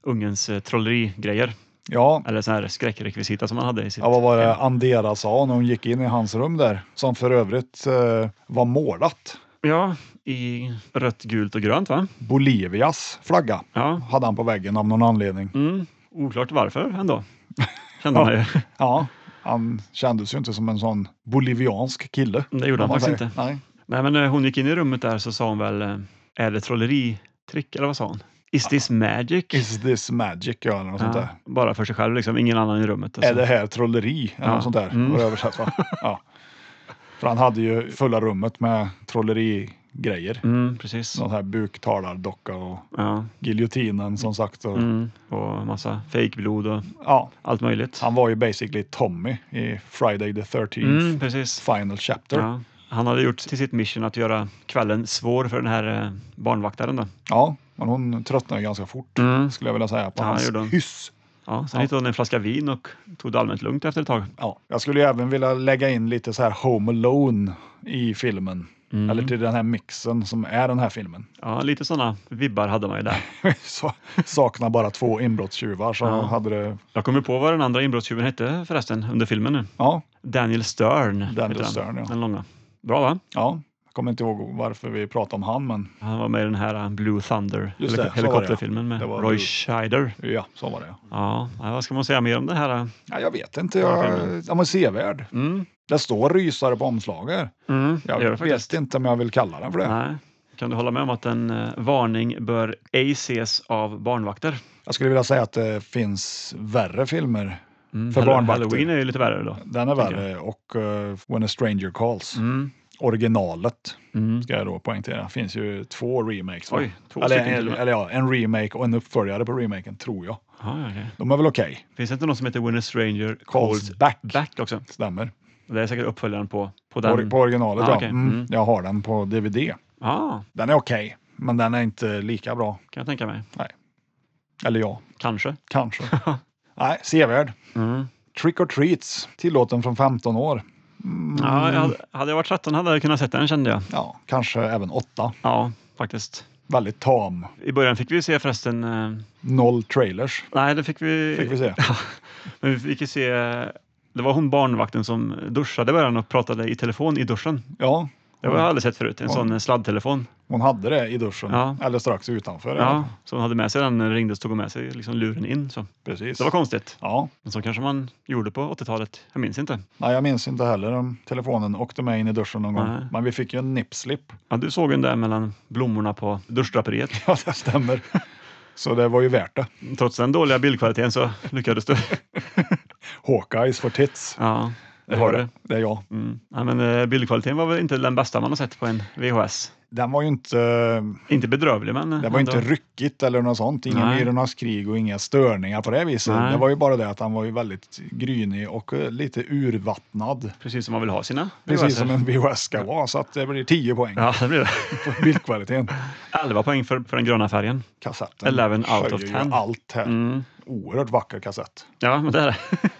ungens uh, trollerigrejer.
Ja,
Eller sån här skräckrekvisita som han hade i sitt...
Ja, vad var det Andera sa när hon gick in i hans rum där? Som för övrigt eh, var målat.
Ja, i rött, gult och grönt va?
Bolivias flagga
Ja.
hade han på väggen av någon anledning.
Mm. Oklart varför ändå. Kände man ju.
Ja, han kändes ju inte som en sån boliviansk kille.
Mm, Det gjorde
om
han
man
faktiskt
säger.
inte.
Nej.
Nej, men när hon gick in i rummet där så sa hon väl, eh, är det trolleritrick eller vad sa hon? Is this magic?
Ah. Is this magic? Ja, eller något sånt där.
ja, bara för sig själv, liksom. ingen annan i rummet.
Är det här trolleri? Eller
Ja.
något sånt där.
Mm.
Var det översatt, va? ja. För han hade ju fulla rummet med trollerigrejer.
Mm, precis.
Sån här buktalardocka och
Ja,
giljotinen som sagt. Och,
mm. Och massa fejkblod och
ja,
allt möjligt.
Han var ju basically Tommy i Friday the 13th
Mm, precis.
Final Chapter. Ja.
Ja. Han hade gjort till sitt mission att göra kvällen svår för den här eh, barnvaktaren. Då.
men hon tröttnade ju ganska fort
Mm.
skulle jag vilja säga på
Ja,
hans
gjorde hon.
hyss.
Ja, sen
Ja.
hittade hon en flaska vin och tog det allmänt lugnt efter ett tag.
Ja. Jag skulle ju även vilja lägga in lite så här Home Alone i filmen.
Mm.
Eller till den här mixen som är den här filmen.
Ja, lite sådana vibbar hade man ju där.
så, saknar bara två inbrottstjuvar så hade det...
Jag kommer på vad den andra inbrottstjuven hette förresten under filmen nu.
Ja,
Daniel Stern. heter han.
Stern, ja.
Den långa. Bra va?
ja. Jag kommer inte ihåg varför vi pratade om han men
Han var med i den här eh, Blue Thunder,
Just det,
helik-
så var det, ja.
helikopterfilmen med
Det var
Roy
Blue-
Scheider.
ja, så var det.
Ja, ja, vad ska man säga mer om den här? eh?
Ja, jag vet inte, jag, ja, men sevärd.
Mm.
Det står rysare på omslaget.
Mm, det
Jag
gör det
vet
faktiskt.
inte om jag vill kalla den för det.
Nej. Kan du hålla med om att en eh, varning bör ej ses av barnvakter?
Jag skulle vilja säga att det finns värre filmer.
Mm,
För
Hall-
barnvakter.
Halloween är ju lite värre då.
Den är
Tänker
värre och eh, When a stranger calls.
Mm.
Originalet
Mm.
ska jag då poängtera. Det finns ju två remakes. va?
Oj, två
eller,
stycken till
eller,
och med.
eller ja, en remake och en uppföljare på remaken tror jag.
Ja, ja, okej.
De är väl okej?
Finns det inte någon som heter When a Stranger
Calls
Calls
back.
Back också?
Stämmer.
Det är säkert uppföljaren på, på den.
Or, på originalet
Ah,
ja.
okej.
Mm.
Mm.
Jag har den på DVD.
Ja,
Den är okej, men den är inte lika bra.
kan jag tänka mig.
Eller ja,
Kanske.
kanske. Nej, sevärd.
Mm.
Trick or treats, tillåten från 15 år.
Ja, jag hade, hade jag varit 13 hade jag kunnat sett den kände jag.
Ja, kanske även 8.
Ja, faktiskt.
Väldigt tam.
I början fick vi se förresten... eh,
Noll trailers.
Nej, det fick vi...
Fick vi se.
Ja, men vi fick ju se... Det var hon barnvakten som duschade i början och pratade i telefon i duschen.
Ja,
Det
Mm.
har jag aldrig sett förut. En sån sladdtelefon.
hon hade det i duschen.
Ja.
Eller strax utanför.
Ja, så hon hade med sig den när det ringdes tog hon med sig liksom luren in. Så.
Precis.
Det var konstigt.
Ja,
Men så kanske man gjorde på 80-talet. Jag minns inte.
Nej, jag minns inte heller om telefonen åkte med in i duschen någon gång.
Nej.
Men vi fick ju en nippslip.
Ja, du såg den där mellan blommorna på duschdraperiet.
Ja, det stämmer. Så det var ju värt det.
Trots den dåliga bildkvaliteten så lyckades du.
Hawkeyes for tits.
Ja, det
var
var det.
Det är jag.
Mm. Ja, men eh, bildkvaliteten var väl inte den bästa man har sett på en VHS.
Den var ju inte,
Inte bedrövlig, men... eh,
det var ju inte ryckigt eller något sånt. Inga
Nej.
myrornas krig och inga störningar på det viset.
Nej.
Det var ju bara det att han var ju väldigt grynig och eh, lite urvattnad.
Precis som man vill ha sina
Precis
VHS.
som en VHS ska vara, så att det blir 10 poäng
Ja, det blir det.
på bildkvaliteten.
11 poäng för, för den gröna färgen.
Kassetten
11 out
höjer
of
ju
10.
allt här.
Mm.
Oerhört vacker kassett.
Ja, men det är det.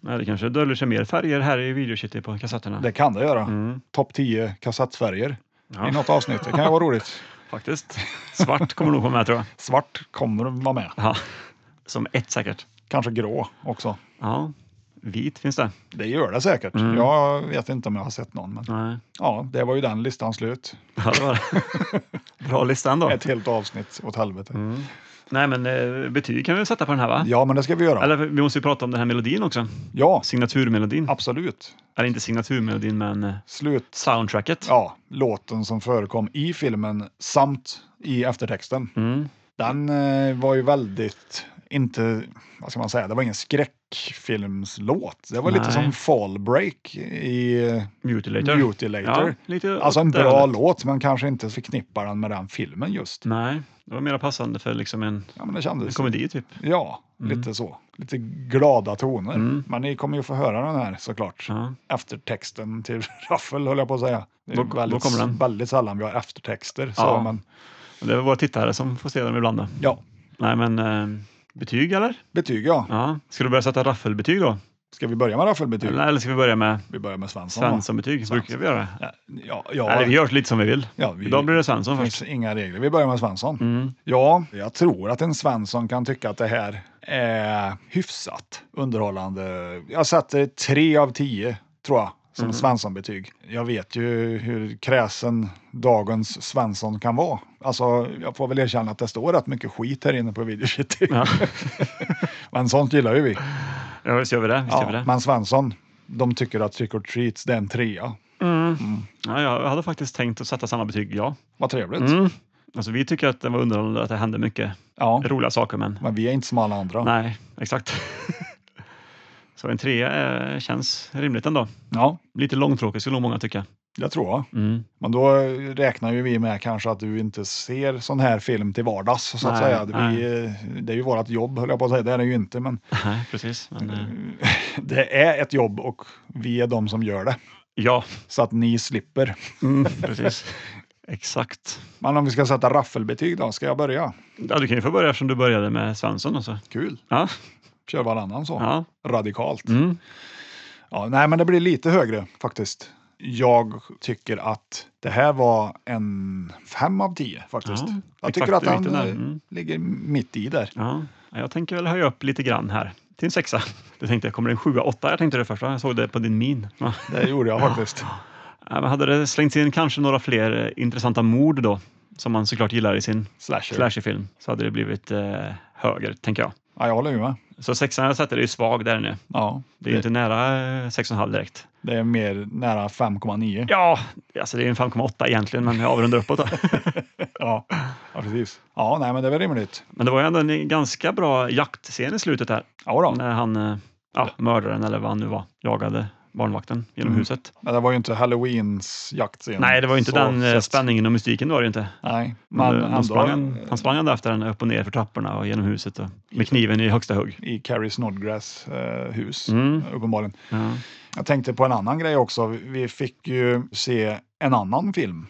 Nej, det kanske döljer sig mer färger här i videokittet på kassetterna.
Det kan det göra.
Mm.
Topp 10 kassettfärger
Ja.
i något avsnitt. Det kan ju vara roligt.
Faktiskt. Svart kommer nog på med tror jag.
Svart kommer att vara med.
Ja. Som ett säkert.
Kanske grå också.
Ja. Vit finns det.
Det gör det säkert.
Mm.
Jag vet inte om jag har sett någon. Men
Nej.
ja, det var ju den listan slut.
Ja, det var det. Bra listan då.
Ett helt avsnitt åt helvete.
Mm. Nej, men eh, betyg kan vi väl sätta på den här va?
Ja, men det ska vi göra.
Eller vi måste ju prata om den här melodin också.
Ja,
Signaturmelodin.
absolut.
Eller inte signaturmelodin, men eh,
Slut.
soundtracket.
Ja, låten som förekom i filmen samt i eftertexten.
Mm.
Den eh, var ju väldigt, inte, vad ska man säga, det var ingen skräckfilmslåt. Det var lite
Nej.
som Fall Break i eh,
Mutilator.
Mutilator.
Ja, lite åt
Alltså en
det
bra
hållet.
låt, men kanske inte förknippar den med den filmen just.
Nej, det var mer passande för liksom en,
Ja, men det
en
kändes.
komedi typ.
Ja, lite så. Lite glada toner. Men ni kommer ju få höra den här såklart.
Mm. Ja.
Eftertexten till Raffel höll jag på att säga. Det är
Då- då
väldigt,
kommer den.
väldigt sällan vi har eftertexter. Så,
Ja.
men,
Och Det är våra tittare som får se dem ibland. Då.
ja.
Nej, men eh, betyg eller?
Betyg ja.
Ja. Ska du börja sätta raffelbetyg då?
Ska vi börja med Raffelbetyg?
Eller, eller ska vi börja med
Vi börjar med Svensson. va?
Svensson-betyg? Brukar vi göra det?
Ja, ja,
Eller vi gör lite som vi vill.
Ja, vi-
Idag blir det
det
Svensson först.
finns inga regler. Vi börjar med Svensson.
Mm.
Ja, jag tror att en Svensson kan tycka att det här är hyfsat underhållande. Jag sätter tre av tio, tror jag, som
Mm.
Svensson-betyg. Jag vet ju hur kräsen dagens Svensson kan vara. Alltså, jag får väl erkänna att det står rätt mycket skit här inne på Videocity.
Ja.
men sånt gillar ju vi.
ja, visst gör vi det. Visst gör vi
Ja,
det.
men Svensson, de tycker att Trick or Treats, det är en trea.
Ja, jag hade faktiskt tänkt att sätta samma betyg, ja.
Vad trevligt.
Mm. Alltså, vi tycker att det var underhållande, att det hände mycket
Ja,
roliga saker, men
men vi är inte som alla andra.
nej, exakt. Så en trea eh, känns rimligt ändå.
Ja,
Lite långtråkig skulle nog många tycka.
det tror jag.
Mm.
Men då räknar ju vi med kanske att du inte ser sån här film till vardags så att
Nej,
säga. Det, blir, eh, det är ju vårt jobb höll jag på att säga, det är det ju inte men
Nej, precis. Men, eh,
det är ett jobb och vi är de som gör det.
ja,
Så att ni slipper.
Mm, precis. Exakt.
Men om vi ska sätta raffelbetyg då, ska jag börja?
Ja, du kan ju få börja eftersom du började med Svensson. Alltså.
Kul,
Ja,
kör varannan så.
ja.
Radikalt.
Mm.
Ja, nej men det blir lite högre faktiskt. Jag tycker att det här var en fem av tio faktiskt.
Ja,
jag
exakt
tycker att
i
han
mitten där.
eh,
Mm.
ligger mitt i där.
ja. Ja, Jag tänker väl höja upp lite grann här till en sexa. Du tänkte, kommer det en sjua, åtta? Jag tänkte det första. Jag såg det på din min. Ja.
Det gjorde jag faktiskt.
Ja, men hade det slängts in kanske några fler eh, intressanta mord då, som man såklart gillar i sin
Slasher.
slasherfilm, så hade det blivit eh, högre, tänker jag.
Ja, jag håller ju med.
Så sexan jag sätter är ju svag där nu.
Ja,
Det är ju inte nära eh, 6,5 direkt.
det är mer nära 5,9.
Ja, alltså det är ju en 5,8 egentligen, men jag avrundar uppåt. Då.
Ja. ja, precis. Ja, nej, men det är väl rimligt.
Men det var ju ändå en ganska bra jaktscen i slutet där.
Ja, då.
När han, eh, ja, mördaren eller vad han nu var, jagade barnvakten genom
Mm.
huset.
Men det var ju inte Halloweens jaktscen.
Nej, det var ju inte
så
den eh,
sett.
spänningen och mystiken det var det ju inte.
Nej, men
Men eh, han,
ändå
sprang, en- han sprang ändå efter den upp och ner för trapporna och genom huset och med kniven i högsta hugg.
i Carrie Snodgrass eh, hus,
Mm.
uppenbarligen.
Ja.
Jag tänkte på en annan grej också. Vi- Vi fick ju se en annan film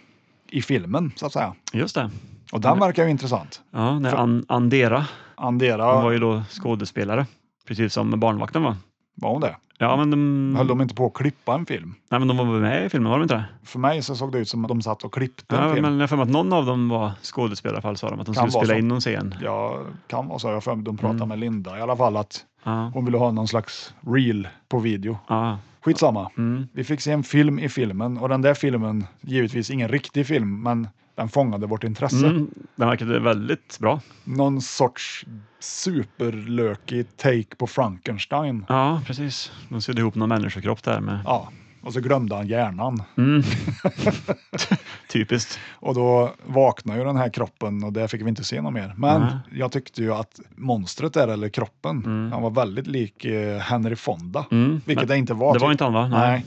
i filmen, så att säga.
Just det.
Och
Mm.
den verkar ju intressant.
Ja, när An- Andera,
Andera,
hon var ju då skådespelare, precis som barnvakten var.
var hon det?
Ja, men de,
Höll de inte på att klippa en film?
nej, men de var väl med i filmen, var de inte det?
För mig så såg det ut som att de satt och klippte en
Ja,
film.
men jag har för mig att någon av dem var skådespelare i alla fall, sa de, att de
Kan
skulle
vara
spela
så.
in någon scen.
Jag kan vara så, jag har för mig att de pratade med Linda i alla fall att
Mm. Ja.
hon ville ha någon slags reel på video.
Ja.
Skitsamma.
Mm.
Vi fick se en film i filmen och den där filmen, givetvis ingen riktig film, men den fångade vårt intresse.
Mm, den verkade väldigt bra.
Någon sorts superlökig take på Frankenstein.
Ja, precis. De sydde ihop någon människokropp där med
Ja, Och så glömde han hjärnan.
Typiskt.
Och då vaknade ju den här kroppen och där fick vi inte se något mer. Men
Nej.
jag tyckte ju att monstret där, eller kroppen, han var väldigt lik eh, Henry Fonda.
Mm,
Vilket
men
det inte var.
det var
typ.
inte han, va? Nej.
Nej.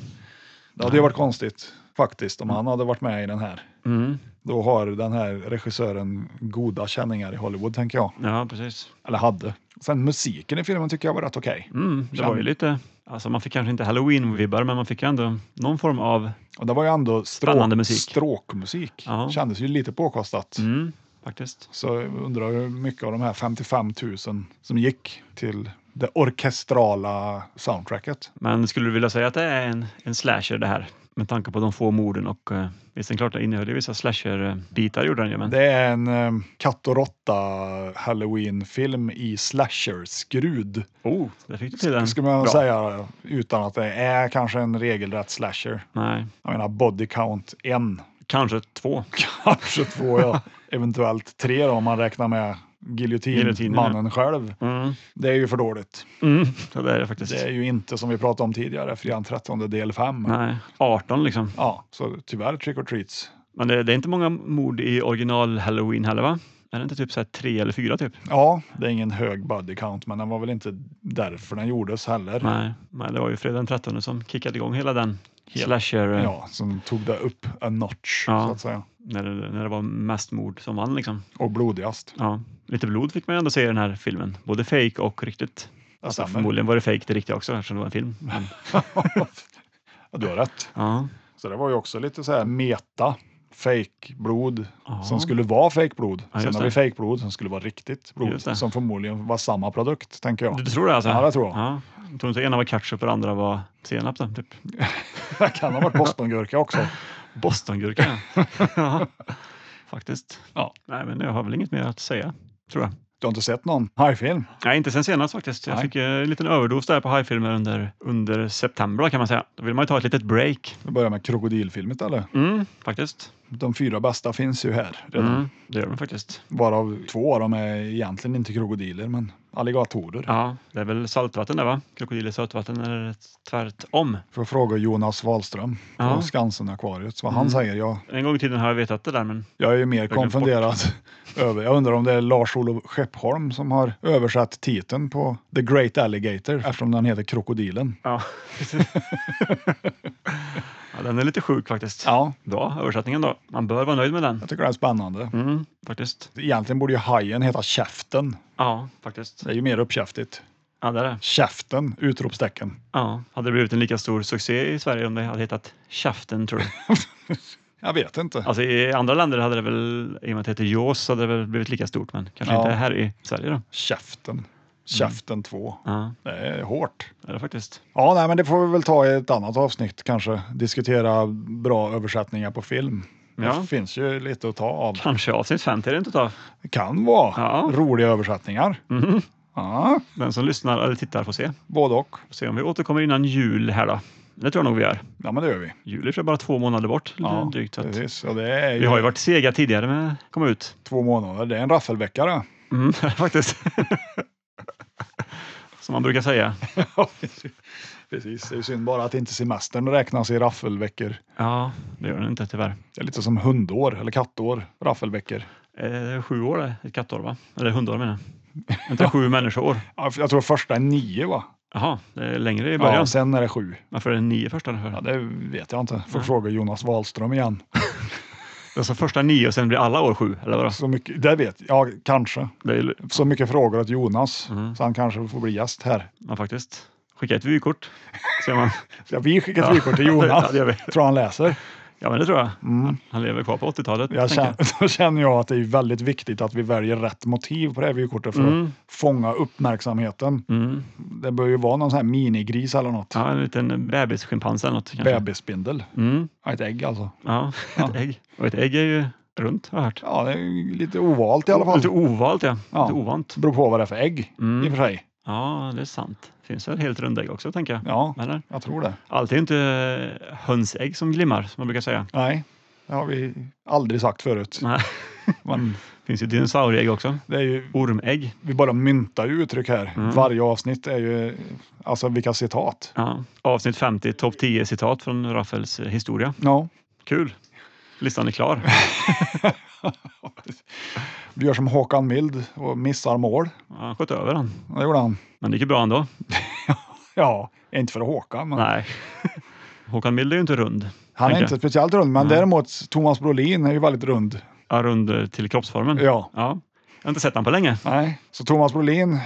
Det hade ju varit konstigt faktiskt om han hade varit med i den här.
Mm.
Då har den här regissören goda känningar i Hollywood tänker jag.
Ja, precis.
Eller hade. Sen musiken i filmen tycker jag var rätt okej.
Mm, det var ju lite... Alltså man fick kanske inte halloween-vibbar, men man fick ändå någon form av...
Och det var ju ändå
Spännande
strå-
musik.
stråkmusik.
Ja.
Kändes ju lite påkostat.
Mm, faktiskt.
Så jag undrar hur mycket av de här 55 000 som gick till det orkestrala soundtracket.
Men skulle du vilja säga att det är en, en slasher det här? Med tanke på de få morden och... eh, Visst, den klart det innehöll ju vissa slasher-bitar gjorde den ju, men...
Det är en eh, katt och råtta halloween-film i slasher-skrud.
Oh, där fick du till den.
Skulle man
Bra.
säga utan att det är kanske en regelrätt slasher.
Nej,
Jag menar body count en,
kanske två.
kanske två, ja. eventuellt tre då, om man räknar med
Giljotinen,
giljotinmannen själv.
Mm.
Det är ju för dåligt.
Mm, det där är det faktiskt.
Det är ju inte som vi pratade om tidigare, Fredagen 13 del 5.
Nej, 18 liksom.
Ja, så tyvärr trick or treats.
Men det, det är inte många mord i original halloween heller va? Är det inte typ så här tre eller fyra typ?
Ja, det är ingen hög body count, men den var väl inte därför den gjordes heller.
Nej, men det var ju fredag den 13 som kickade igång hela den
Helt-
slasher eh,
Ja, som tog det upp a notch
Ja.
så att säga.
när, det, när det var mest mord som vann liksom.
Och blodigast.
Ja, lite blod fick man ju ändå se i den här filmen, både fake och riktigt.
Det
Alltså,
stämmer.
förmodligen var det fake det riktiga också eftersom det var en film. Men,
ja, du har rätt.
ja,
Så det var ju också lite så här meta. Fake-blod
Ja.
som skulle vara fake-blod.
Ja,
Sen
just
har vi
det.
fake-blod som skulle vara riktigt blod.
Just det.
Som förmodligen var samma produkt, tänker jag.
du, du tror det alltså?
Ja, det tror jag.
Ja. Tror inte ena var ketchup och det andra var senap då, typ?
Det kan ha varit bostongurka också.
Bostongurka. ja, faktiskt.
Ja.
Nej, men jag har väl inget mer att säga, tror jag.
Du har inte sett någon hajfilm?
Nej, inte sen senast faktiskt. Jag
Nej.
fick eh, en liten överdos där på hajfilmer under, under september kan man säga. Då vill man ju ta ett litet break.
Vi börjar med krokodilfilmet eller?
Mm, faktiskt.
De fyra bästa finns ju här redan.
Mm, det gör man faktiskt.
Varav två av dem är egentligen inte krokodiler, men alligatorer.
Ja, det är väl saltvatten där va? Krokodiler sötvatten eller tvärtom.
Får fråga Jonas Wahlström från
Ja.
Skansen-akvariet vad han säger. Jag,
En gång i tiden har jag vetat det där men
jag är ju mer
glömt bort.
konfunderad. över. Jag undrar om det är Lars-Olof Skeppholm som har översatt titeln på The Great Alligator eftersom den heter Krokodilen.
ja. ja. Den är lite sjuk faktiskt.
Ja,
Bra översättningen då. Man bör vara nöjd med den.
jag tycker det är spännande.
Mm, faktiskt.
Egentligen borde ju hajen heta Käften.
Ja, faktiskt.
Det är ju mer uppkäftigt.
Ja, det är det.
Käften! Utropstecken.
Ja, hade det blivit en lika stor succé i Sverige om det hade hetat Käften tror du?
Jag vet inte.
Alltså i andra länder hade det väl, i och med att det heter Jaws, hade det väl blivit lika stort men kanske
Ja.
inte här i Sverige då.
Käften. Käften 2.
Ja,
Det är hårt.
det är det faktiskt.
Ja, nej, men det får vi väl ta i ett annat avsnitt kanske. Diskutera bra översättningar på film.
Ja.
Det finns ju lite att ta av.
Kanske avsnitt 50 är det inte utav.
Det kan vara
Ja. Mm-hmm.
roliga översättningar. Ja,
Den som lyssnar eller tittar får se.
både och.
Får se om vi återkommer innan jul här då. Det tror jag nog vi gör.
Ja, men det gör vi.
Jul är för bara två månader bort.
Ja,
Ja, drygt, så att
Precis. Och det är ju
vi har ju varit sega tidigare med att komma ut.
två månader. Det är en raffelvecka det.
Mm, faktiskt. Som man brukar säga.
Ja, precis. Det är synd bara att inte semestern räknas i raffelveckor.
Ja, det gör den inte tyvärr.
Det är lite som hundår eller kattår, raffelveckor.
Eh, det är sju år det, ett kattår va? Eller hundår menar jag. Inte sju människoår.
Ja, för Jag tror första är nio va?
Jaha, det är längre i början.
Ja, sen är det sju.
Varför är det nio första? För?
Ja, det vet jag inte. Får fråga Jonas Wahlström igen.
Alltså första nio och sen blir alla år sju, eller vadå?
Så mycket, det vet jag, ja, kanske.
Det är, ju-
Så mycket frågor åt Jonas,
Mm.
så han kanske får bli gäst här.
ja, faktiskt. Skicka ett vykort. Ser man.
Så vi skickar ett
Ja.
vykort till Jonas.
Ja, det gör vi.
Tror han läser.
Ja, men det tror jag.
Mm.
Han lever kvar på 80-talet.
Jag
tänker
känner, då känner jag att det är väldigt viktigt att vi väljer rätt motiv på det här vykortet för
Mm.
att fånga uppmärksamheten.
jag. Mm.
Det bör ju vara någon sån här minigris eller något.
Ja, en liten bebisschimpans eller något kanske.
Bebisspindel.
Mm.
Ja, ett ägg alltså.
Ja, ett ägg. Och ett ägg är ju runt har jag hört.
Ja, det är ju lite ovalt i alla fall.
Lite Mm. ovalt ja.
Ja.
Lite ovant.
beror på vad det är för ägg i och för sig.
Ja, det är sant. Finns det helt runda ägg också tänker jag.
Ja,
Eller?
jag tror det.
Allt är ju inte hönsägg som glimmar som man brukar säga.
Nej, det har vi aldrig sagt förut.
Nej.
Men
finns ju dinosaurieägg också.
det är ju,
Ormägg.
vi bara myntar ju uttryck här. Varje avsnitt är ju alltså vilka citat.
Ja. Avsnitt 50, topp 10 citat från Raffels historia.
Ja,
Kul! Listan är klar.
vi gör som Håkan Mild och missar mål.
Ja, Han sköt över den.
Det gjorde han.
Men det gick ju bra ändå.
Ja, inte för Håkan, men
Nej. Håkan Mild är ju inte rund.
han är
tänker
inte
jag.
speciellt rund. Men däremot Thomas Brolin är ju väldigt rund.
Ja, rund eh, till kroppsformen.
Ja.
ja. Jag har inte sett han på länge.
Nej, så Thomas Brolin,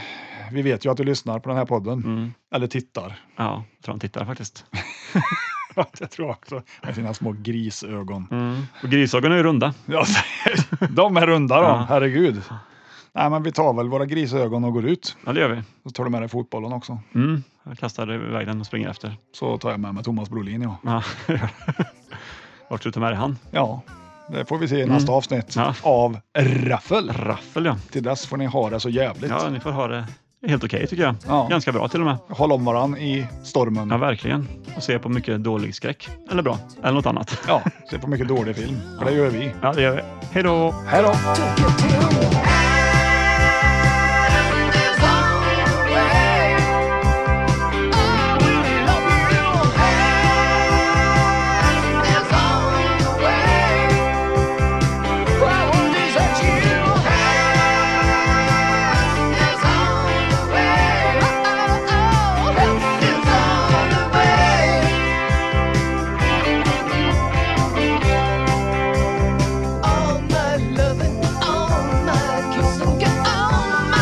vi vet ju att du lyssnar på den här podden. Eller tittar.
Ja, jag tror han tittar faktiskt.
det tror jag också. Med sina små grisögon.
Mm. Och grisögonen är ju runda.
Ja, de är runda de,
Ja.
herregud. Nej, men vi tar väl våra grisögon och går ut.
Ja, det gör vi.
Så tar du med dig fotbollen också.
Mm. Jag kastar iväg den och springer efter.
Så tar jag med mig Thomas Brolin, ja.
Ja. Vart ska du ta med dig han?
Ja, det får vi se i nästa avsnitt
Mm. Ja.
av Raffel.
Raffel, ja.
Till dess får ni ha det så jävligt.
Ja, ni får ha det helt okej tycker jag.
Ja.
Ganska bra till och med.
Håll om varann i stormen.
Ja,
Ja.
verkligen. Och se på mycket dålig skräck. Eller bra. Eller något annat.
se på mycket dålig film. För det gör vi.
Ja, det gör vi. Hej då!
Hej då!
All my loving, all my kissing, get on my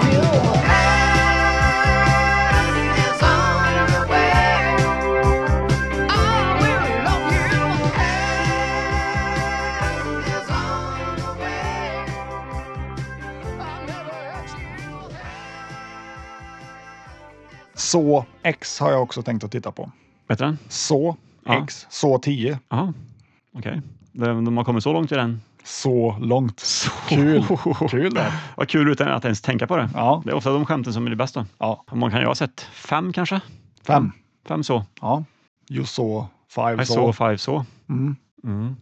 pill. Heaven is on the way. I will love you. Heaven is on the way. I'll never hurt you.
Så X har jag också tänkt att titta på.
Vet du den?
Så
Ja.
X, så 10,
Ja. Okej. De de har kommit så långt i den.
så långt. Kul! Kul det.
Vad kul utan att ens tänka på det.
Ja.
Det är ofta de skämten som är det bästa.
Ja,
Hur många kan jag ha sett? Fem kanske?
fem.
Fem så.
Ja. You saw five
I saw
saw.
five så.
Mm.
Mm.